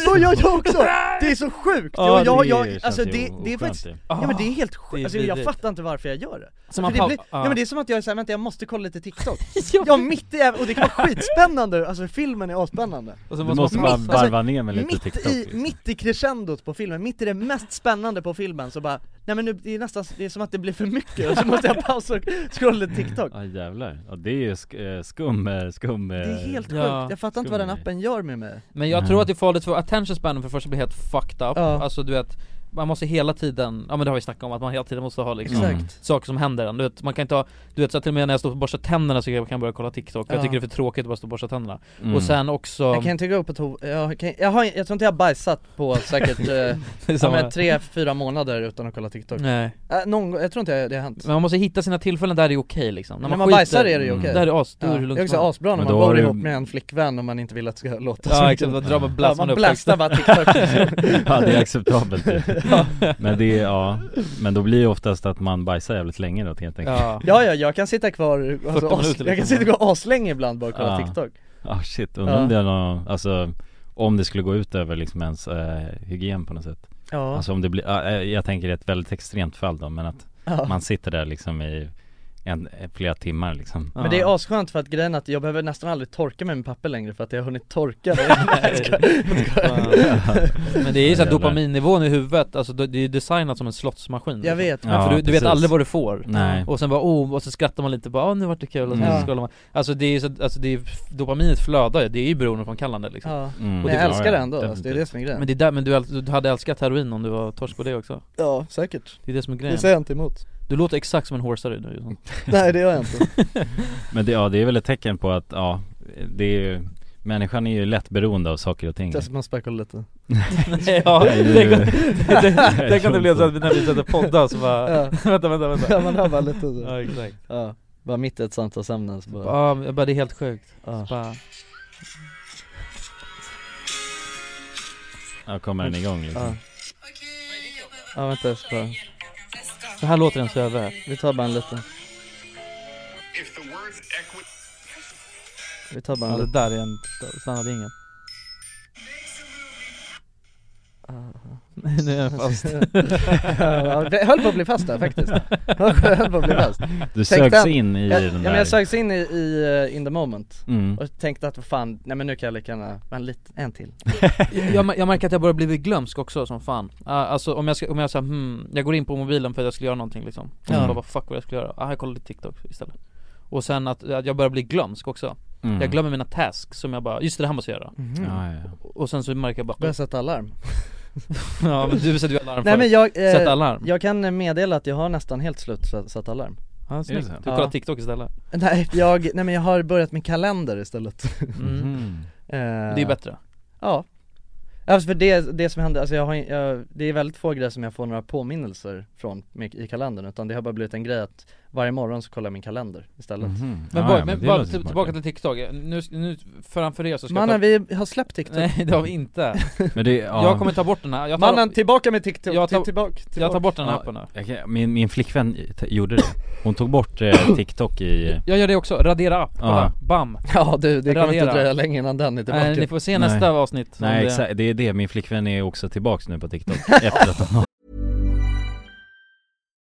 Så gör jag också! Det är så sjukt! Ja, Ja, jag, det jag, känns alltså ju det, det är oskönt faktiskt, ju. ja men det är helt Det är sjukt, alltså, jag vidrigt. fattar inte varför jag gör det Som För man det pau- ah. blir, ja. Ja men det är som att jag är såhär, vänta jag måste kolla lite TikTok Ja mitt i, och det kan vara skitspännande, alltså filmen är avspännande Och så måste man- måste man varva ner med lite alltså, mitt TikTok, liksom. i, mitt i crescendot på filmen, mitt i det mest spännande på filmen så bara Nej men nu, det är nästan, det är som att det blir för mycket, och så måste jag pausa och scrolla lite TikTok Ja jävlar, ja, det är ju sk- eh, skum, eh, skum Det Det är helt sjukt, Ja. jag fattar inte vad den appen gör med mig Men jag Nej. tror att det är farligt för attention spanen för det första blir helt fucked up, Ja. alltså du vet man måste hela tiden, ja men det har vi snackat om, att man hela tiden måste ha liksom Exakt. saker som händer en. Du vet, man kan inte ha, du vet så här, till och med när jag står och borstar tänderna så kan jag börja kolla TikTok, för jag Ja. tycker det är för tråkigt att bara stå och borsta tänderna. Mm. Och sen också Jag kan inte gå på toa, jag, kan, jag, har, jag tror inte jag har bajsat på säkert eh, ja, samma. men tre, fyra månader utan att kolla TikTok Nej. Äh, någon, gång- jag tror inte det har hänt Men man måste hitta sina tillfällen där det är okej liksom, När man, bajsar är det ju okej Där är det as, då är det Ja. hur lugnt Jag är också som helst. asbra när man bor ihop med en flickvän och man inte vill att det ska låta Ja, så mycket. exakt, då drar man- Ja, blastar man man upp blastar texten. bara TikTok Ja det är acceptabelt typ. ja. Men det är, ja Men då blir det oftast att man bajsar jävligt länge då helt enkelt Ja. ja, jag kan sitta kvar, 40 alltså, minuter as, jag liksom. kan sitta kvar aslänge ibland bara och kolla Ja. TikTok Ja Ah, shit, undrar om Ja. det är någon, alltså om det skulle gå ut över liksom ens eh, hygien på något sätt Ja. Alltså om det blir, ja, eh, jag tänker ett väldigt extremt fall då men att Ja. man sitter där liksom i en, eh, flera timmar liksom Men det är asskönt för att grejen är att jag behöver nästan aldrig torka mig med papper längre för att jag har hunnit torka det Men det är ju såhär dopaminnivån i huvudet, alltså det det är ju designat som en slottsmaskin Jag vet. men För Ja, du, du vet precis. aldrig vad du får Nej. Och sen bara oh, och så skrattar man lite bara ah nu vart det kul och sen Mm. så scrollar man Alltså det är ju så, alltså det är, dopaminet flödar ju, det är ju beroendeframkallande liksom Ja. Och Mm. Men jag är- älskar det ändå, alltså, det är det som är grejen Men det är där, men du, äl- du hade älskat heroin om du var torsk på det också Ja, säkert Det är det som är grejen Det säger jag inte emot Du låter exakt som en horsare nu Jonsson. Nej det gör jag inte Men det, ja, det är väl ett tecken på att, ja, det är ju Människan är ju lätt beroende av saker och ting Testa man späckar lite Ja, Nej, det- tänk om- tänk- Jag tänk om tror det blev så att inte. när vi sätter poddar så bara, Ja. vänta vänta vänta Ja man hör bara lite så. Ja exakt Ja, bara mitt i ett samtalsämne så bara Ja, men bara det är helt sjukt Så bara, Ja, kommer den igång liksom Ja. Ja vänta, jag ska Så här låter den söver Vi tar bara en liten Vi tar bara Ja, en det liten där är en standardjingel Ah. Nej, nu är jag fast Ja, jag höll på att bli fast där faktiskt Jag höll på att bli fast Du Tänkte sögs att- in i jag, den ja, där- men jag sögs in i, i eh, in the moment Mm. Och tänkte att vad fan, nej men nu kan jag lika gärna, men lite, en till jag, mär- jag märker att jag börjar bli glömsk också som fan uh, Alltså om jag, ska, om jag säger hmm, jag går in på mobilen för att jag skulle göra någonting liksom Och så Ja. bara, vad fuck vad jag skulle göra? Ah, jag kollar lite TikTok istället Och sen att, att jag börjar bli glömsk också Mm. Jag glömmer mina tasks som jag bara, just det, det här måste jag göra Mhm. Ja, Och sen så märker jag bara Börja sätta alarm Ja men du sätter ju alarm Nej för- men jag, eh, Sätta alarm jag kan meddela att jag har nästan helt slut så- satt alarm Ja, snyggt. Du kollar TikTok istället Nej, jag, nej men jag har börjat med kalender istället Mhm. Eh, Det är bättre. Ja Alltså för det, det som händer, alltså jag har, jag, det är väldigt få grejer som jag får några påminnelser från med, i kalendern utan det har bara blivit en grej att varje morgon så kollar jag min kalender istället Mhm. Men, bara, men bara till, tillbaka till TikTok, nu, nu framför er så ska Mannen jag vi har släppt TikTok Nej det har vi inte Men det- ja. Jag kommer ta bort den här, jag tar Mannen tillbaka med TikTok, jag tar, tillbaka, Jag tar bort den här Ja, appen nu jag kan- Min, min flickvän t- gjorde det Hon tog bort eh, TikTok i Jag gör det också, radera app, Ja. kolla, bam Ja du, det kommer inte Radera. dröja länge innan den är tillbaka Nej, ni får se nästa avsnitt om Nej det- exakt, det är det, min flickvän är också tillbaks nu på TikTok efter att hon har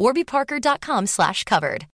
warbyparker.com/covered. slash covered.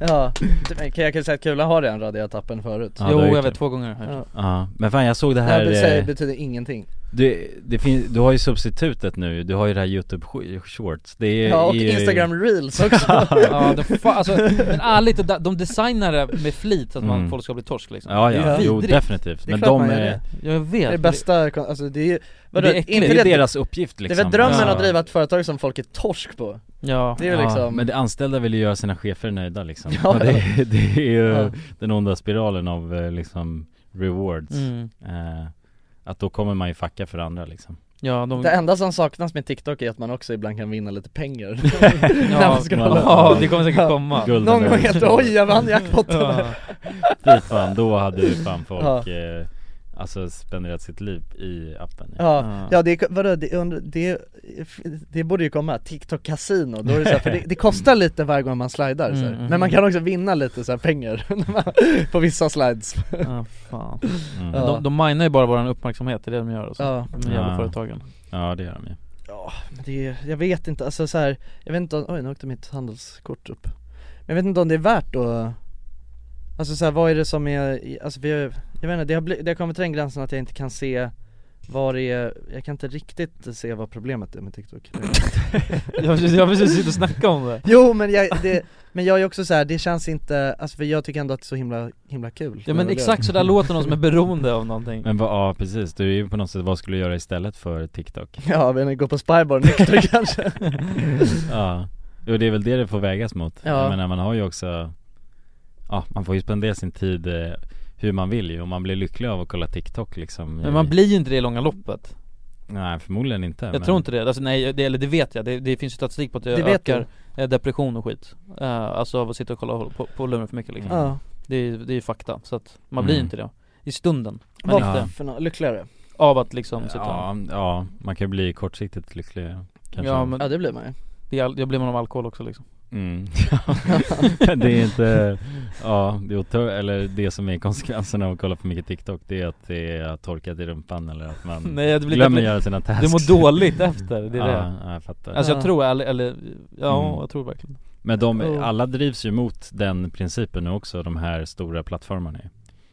Ja, men kan jag kan säga att Kulan har redan raderat appen förut Ja, Jo, det har jag jag vet, gjort. två gånger ja. Ja, men fan jag såg det här Det här eh, betyder ingenting du, det finns, du har ju substitutet nu, du har ju det här youtube sh- shorts det är, Ja och är ju- Instagram reels också ja, de, fa, alltså, men ärligt, de- de designar det med flit att man, Mm. folk ska bli torsk liksom Ja, ja. Det är ju Jo, vidrigt. definitivt. Det är Men klart de man gör är- Ja, jag vet. Det är det bästa, kon- alltså det är ju vadå, Det är äckligt. inte Det är deras uppgift, Det är liksom. väl drömmen Ja. att driva ett företag som folk är torsk på Ja Det är ju liksom Men de anställda vill ju göra sina chefer nöjda liksom Ja. Och det, det är ju Ja. den onda spiralen av eh, liksom rewards Mm. eh, Att då kommer man ju facka för andra liksom Ja, de... Det enda som saknas med TikTok är att man också ibland kan vinna lite pengar Ja, ja, det kommer säkert Ja. komma. Gulden Någon är- gång efter, oj jag vann jackpotten Ja. Fy fan, då hade ju fan folk Ja. eh, Alltså spenderat sitt liv i appen Ja, ja det, är- vadå, det, undrar- det, det borde ju komma, TikTok kasino, då är det, så här, för det, det kostar lite varje gång man slidar så här. Mm, mm. Men man kan också vinna lite så här, pengar när man- på vissa slides Ja, fan. Mm. De, de minar ju bara vår uppmärksamhet, det är det de gör alltså, Ja. de jävla Ja. företagen Ja det gör de ju Ja, men det är, jag vet inte, alltså så här, jag vet inte om, oj nu åkte mitt handelskort upp Men jag vet inte om det är värt då Alltså så här, vad är det som är, i- alltså vi har, jag vet inte, det har, bli, det har kommit till den gränsen att jag inte kan se vad det är, jag kan inte riktigt se vad problemet är med TikTok Jag har precis- jag har precis suttit och snackat om det. Jo men jag, det, men jag är också så här, det känns inte, alltså för jag tycker ändå att det är så himla, himla kul Ja men exakt så där låter någon som är beroende av någonting Men vad, ja precis, du är ju på något sätt, vad skulle du göra istället för TikTok? Ja, jag vet inte, gå på spybar nykter kanske Ja, och det är väl det det får vägas mot Ja. Jag menar man har ju också Ja, man får ju spendera sin tid eh, hur man vill ju, och man blir lycklig av att kolla TikTok liksom Men man blir ju inte det i långa loppet Nej förmodligen inte Jag men- tror inte det, alltså, nej, det, eller det vet jag, det, det finns ju statistik på att det, Det vet ökar eh, depression och skit Eh, Alltså av att sitta och kolla på, på, på luren för mycket liksom Ja. det, är, det är ju fakta, så att man blir Mm. inte det I stunden, men Vad inte för nå- lyckligare? Av att liksom sitta Ja, ja, man kan ju bli kortsiktigt lycklig kanske Ja, men, ja det blir man ju det, är all- det blir man av alkohol också liksom Mm. Ja, det är inte, ja det är otör, eller det som är konsekvensen av att kolla för mycket TikTok det är att det är torkat i rumpan eller att man Nej, det blir Mm. glömmer det blir- göra sina tasks Du mår dåligt efter, det ja, är det Ja, jag fattar Alltså jag tror, eller, eller ja Mm. jag tror verkligen Men de, Oh. Ja. alla drivs ju mot den principen nu också, de här stora plattformarna ju.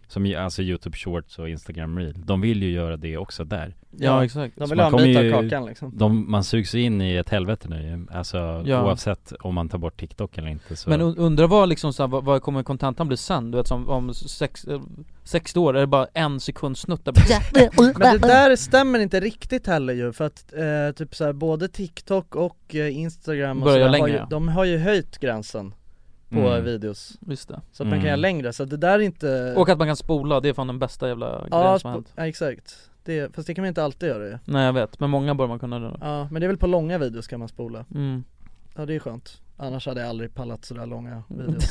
Som ju- alltså youtube shorts och instagram reel, de vill ju göra det också där Ja, exakt. De Så vill man ha kommer en bit av ju- kakan, liksom. de, Man sugs ju in i ett helvete nu ju. alltså Ja. oavsett om man tar bort tiktok eller inte så Men un- undrar vad liksom så här, vad, vad kommer kontentan bli sen? Du vet som om sex, eh, 60 år är det bara en sekund snutt där Men det där stämmer inte riktigt heller ju för att eh, typ så här, både TikTok och eh, Instagram och Börjar så där göra har ju, längre, ja. de har ju höjt gränsen på Mm. videos Just det. Så att man Mm. kan göra längre, så att det där är inte Och att man kan spola, det är fan den bästa jävla Ja, grejen sp- som har hänt ja exakt, det, fast det kan man inte alltid göra ju Nej jag vet, men många bör man kunna göra Ja, men det är väl på långa videos kan man spola Mm. Ja det är skönt, annars hade jag aldrig pallat sådär långa videos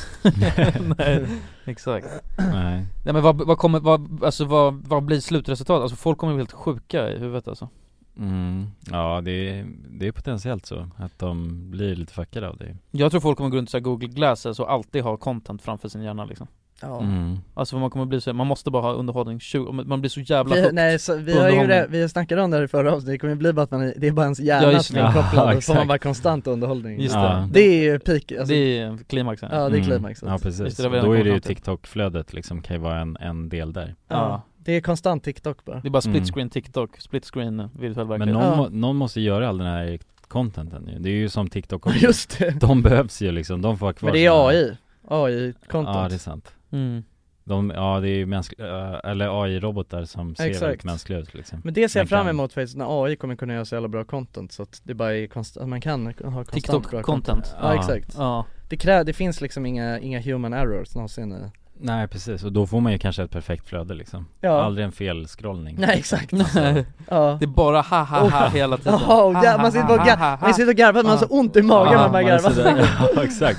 Nej, exakt Nej. Nej men vad, vad kommer, vad, alltså vad, vad blir slutresultatet? Alltså folk kommer bli helt sjuka i huvudet alltså Mm. Ja, det är, det är potentiellt så att de blir lite fuckade av det. Jag tror folk kommer gå runt så här Google Glasses och alltid ha content framför sin hjärna liksom Ja. Mm. Alltså för man kommer bli så, man måste bara ha underhållning 20, man blir så jävla Vi, hooked nej, så, vi på har ju underhållning. det, vi snackade om det här i förra avsnittet, det kommer ju bli bara att man, det är bara ens hjärna Ja, just som det. är inkopplad, Ja, och så får man exakt. bara konstant underhållning Just Ja. Det är ju peak, alltså, Det är klimaxen Ja det är Mm. klimaxet Ja precis, Just det, det var det då jag är kom det ju fram till. TikTok-flödet liksom, kan ju vara en, en del där ja. Det är konstant TikTok bara Det är bara split Mm. screen TikTok, split screen virtuell Men verklighet någon, Ja. må, någon måste göra all den här contenten ju, det är ju som TikTok också Just det. De behövs ju liksom, de får ha kvar Men det är sina- AI, AI-content Ja det är sant Mm. de, Ja det är ju mänskliga, eller AI-robotar som ser väldigt Exakt. mänskliga ut liksom Men det ser jag Man fram kan- emot faktiskt, när AI kommer kunna göra så jävla bra content så att det bara är konstant, man kan ha konstant TikTok bra content. Ja, Ja. exakt Ja. Det krä, det finns liksom inga, inga human errors någonsin i Nej precis, och då får man ju kanske ett perfekt flöde liksom Ja. Aldrig en felskrollning Alltså. Nej exakt Nej. Ja. Det är bara ha ha ha Oh. hela tiden Oh, ja, man sitter och gar- man sitter och garvar, man har så ont i magen, man bara man är sådär- garvar ja, exakt.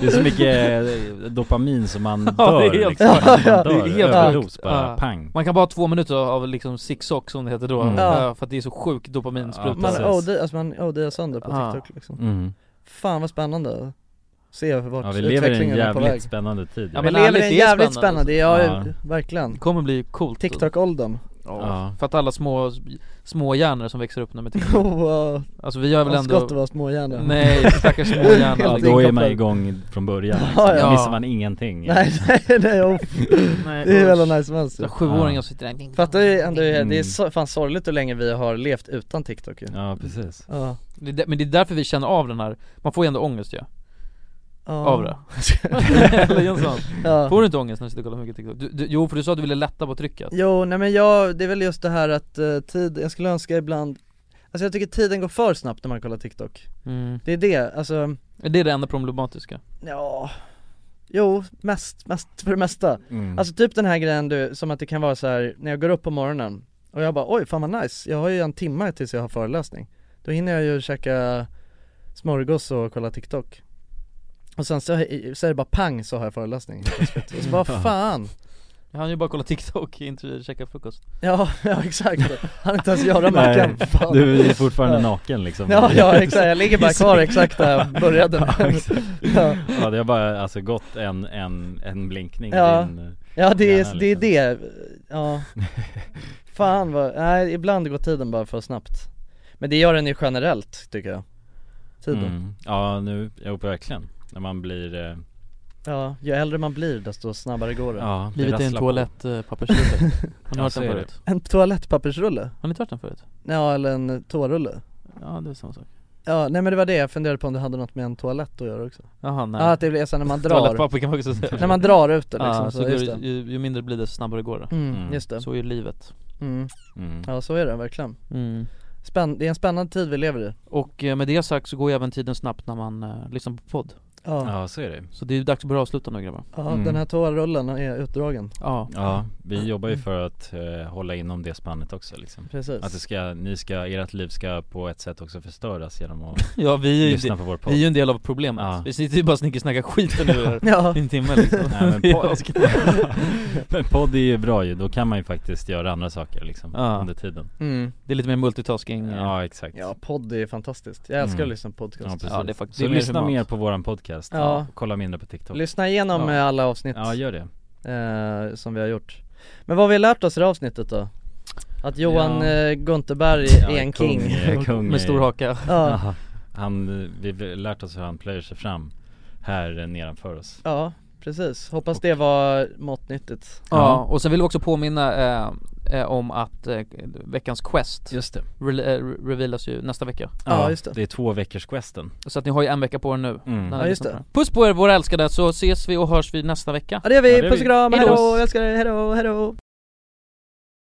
Det är så mycket eh, dopamin som man dör Ja, det är helt liksom. Man sjukt. dör, Det är helt överdos sjukt. bara, Ja. pang Man kan bara ha två minuter av liksom zigzag som det heter då, Mm. Ja. eh, för att det är så sjuk dopaminspruta Man OD, alltså man OD sönder på Ja. TikTok liksom Mm. Fan vad spännande Se vart Ja vi lever i en utvecklingen är på jävligt väg spännande tid liksom. Vi lever i en jävligt spännande, ja, Ja. verkligen Det kommer bli coolt TikTok-åldern Ja. För att alla små, små hjärnor som växer upp nu med TikTok Wow. Alltså vi har väl ändå Skott var småhjärna Nej, stackars småhjärna Ja då är man igång från början liksom. Ja, ja. Då missar man ingenting Nej nej nej, oh. Nej, det är väl usch. nice mönster Så sjuåringar sitter där. Fattar du ändå, det är Mm. så, fan sorgligt hur länge vi har levt utan TikTok ju Ja precis Ja, Det är där- Men det är därför vi känner av den här, man får ju ändå ångest ju Ja. Av det Eller Jönsson, Ja. får du inte ångest när du sitter och kollar mycket TikTok? Du, du, jo för du sa att du ville lätta på trycket Jo, nej men jag, det är väl just det här att eh, tid, jag skulle önska ibland Alltså jag tycker tiden går för snabbt när man kollar TikTok Mm. Det är det, alltså, Det är det enda problematiska ja Jo, mest, mest för det mesta Mm. Alltså typ den här grejen du, som att det kan vara så här när jag går upp på morgonen och jag bara oj fan vad nice, jag har ju en timme tills jag har föreläsning Då hinner jag ju käka smörgås och kolla TikTok Och sen så, så är det bara pang så har jag föreläsning helt plötsligt. Och så bara fan Jag hann ju bara kolla TikTok, inte käka frukost Ja, ja exakt. Han inte ens göra mackan. Nej, Fan. Du är fortfarande naken liksom Ja, ja exakt, jag ligger bara kvar exakt där jag började Ja, exakt. Ja. ja det har bara alltså gått en, en, en blinkning i Ja, din, eh, ja det, är, hjärna, det är liksom. det, ja Fan vad, nej ibland går tiden bara för snabbt Men det gör den ju generellt tycker jag Tiden Mm. Ja nu, jo verkligen När man blir eh, Ja, ju äldre man blir desto snabbare går det Ja, det Livet är en rasslar på. toalettpappersrulle Har ni Ja, hört så den är det. förut? En toalettpappersrulle? Har ni inte hört den förut? Ja eller en eh, toarulle Ja det är samma sak Ja nej men det var det, jag funderade på om det hade något med en toalett att göra också Jaha nej Ja att det blir så här när man drar Toalettpapper kan man också säga När man drar ut det liksom, Ja, så så går just det- det. Ju, ju mindre blir det, så snabbare går det Mm, Mm. just det. Så är ju livet mm. Mm. Ja så är det verkligen Mm. Spänn, Det är en spännande tid vi lever i Och eh, med det sagt så går ju även tiden snabbt när man eh, lyssnar på podd Ja. Ja så är det Så det är ju dags att börja avsluta nu grabbar Ja den här toarullen är utdragen Ja Ja, vi jobbar ju för att eh, hålla inom det spannet också liksom Precis. Att det ska, ni ska, ert liv ska på ett sätt också förstöras genom att Ja vi är ju, lyssna på vår podd vi är ju en del av problemet, Ja. vi sitter ju bara och snickersnackar skiten nu här Ja. i en timme liksom Nej, men, podd, men podd är ju bra ju, då kan man ju faktiskt göra andra saker liksom Ja. under tiden Mm. Det är lite mer multitasking eh. Ja exakt Ja podd är fantastiskt, jag älskar att lyssna på podcast Ja, precis. Ja, det är faktiskt- Så det är mer lyssna humant. mer på våran podcast Ja. och kolla mindre på TikTok Lyssna igenom Ja. eh, alla avsnitt Ja gör det eh, som vi har gjort Men vad har vi lärt oss i det här avsnittet då? Att Johan Ja. eh, Gunterberg är en kung, king eh, kung Med stor i- haka. Ja. Han, eh, vi har lärt oss hur han plöjer sig fram här eh, nedanför oss Ja, precis, hoppas det var mått nyttigt Ja, och sen vill vi också påminna eh, eh, om att eh, veckans quest Just det re- eh, re- revealas ju nästa vecka Ja, just det. Det är två veckors questen Så att ni har ju en vecka på er nu Mm. när ni Ja, just lyssnar det. på Puss på er våra älskade så ses vi och hörs vi nästa vecka Ja det gör vi, Ja, det gör puss och vi. kram, Hejdå. hejdå, jag älskar er, hejdå, hejdå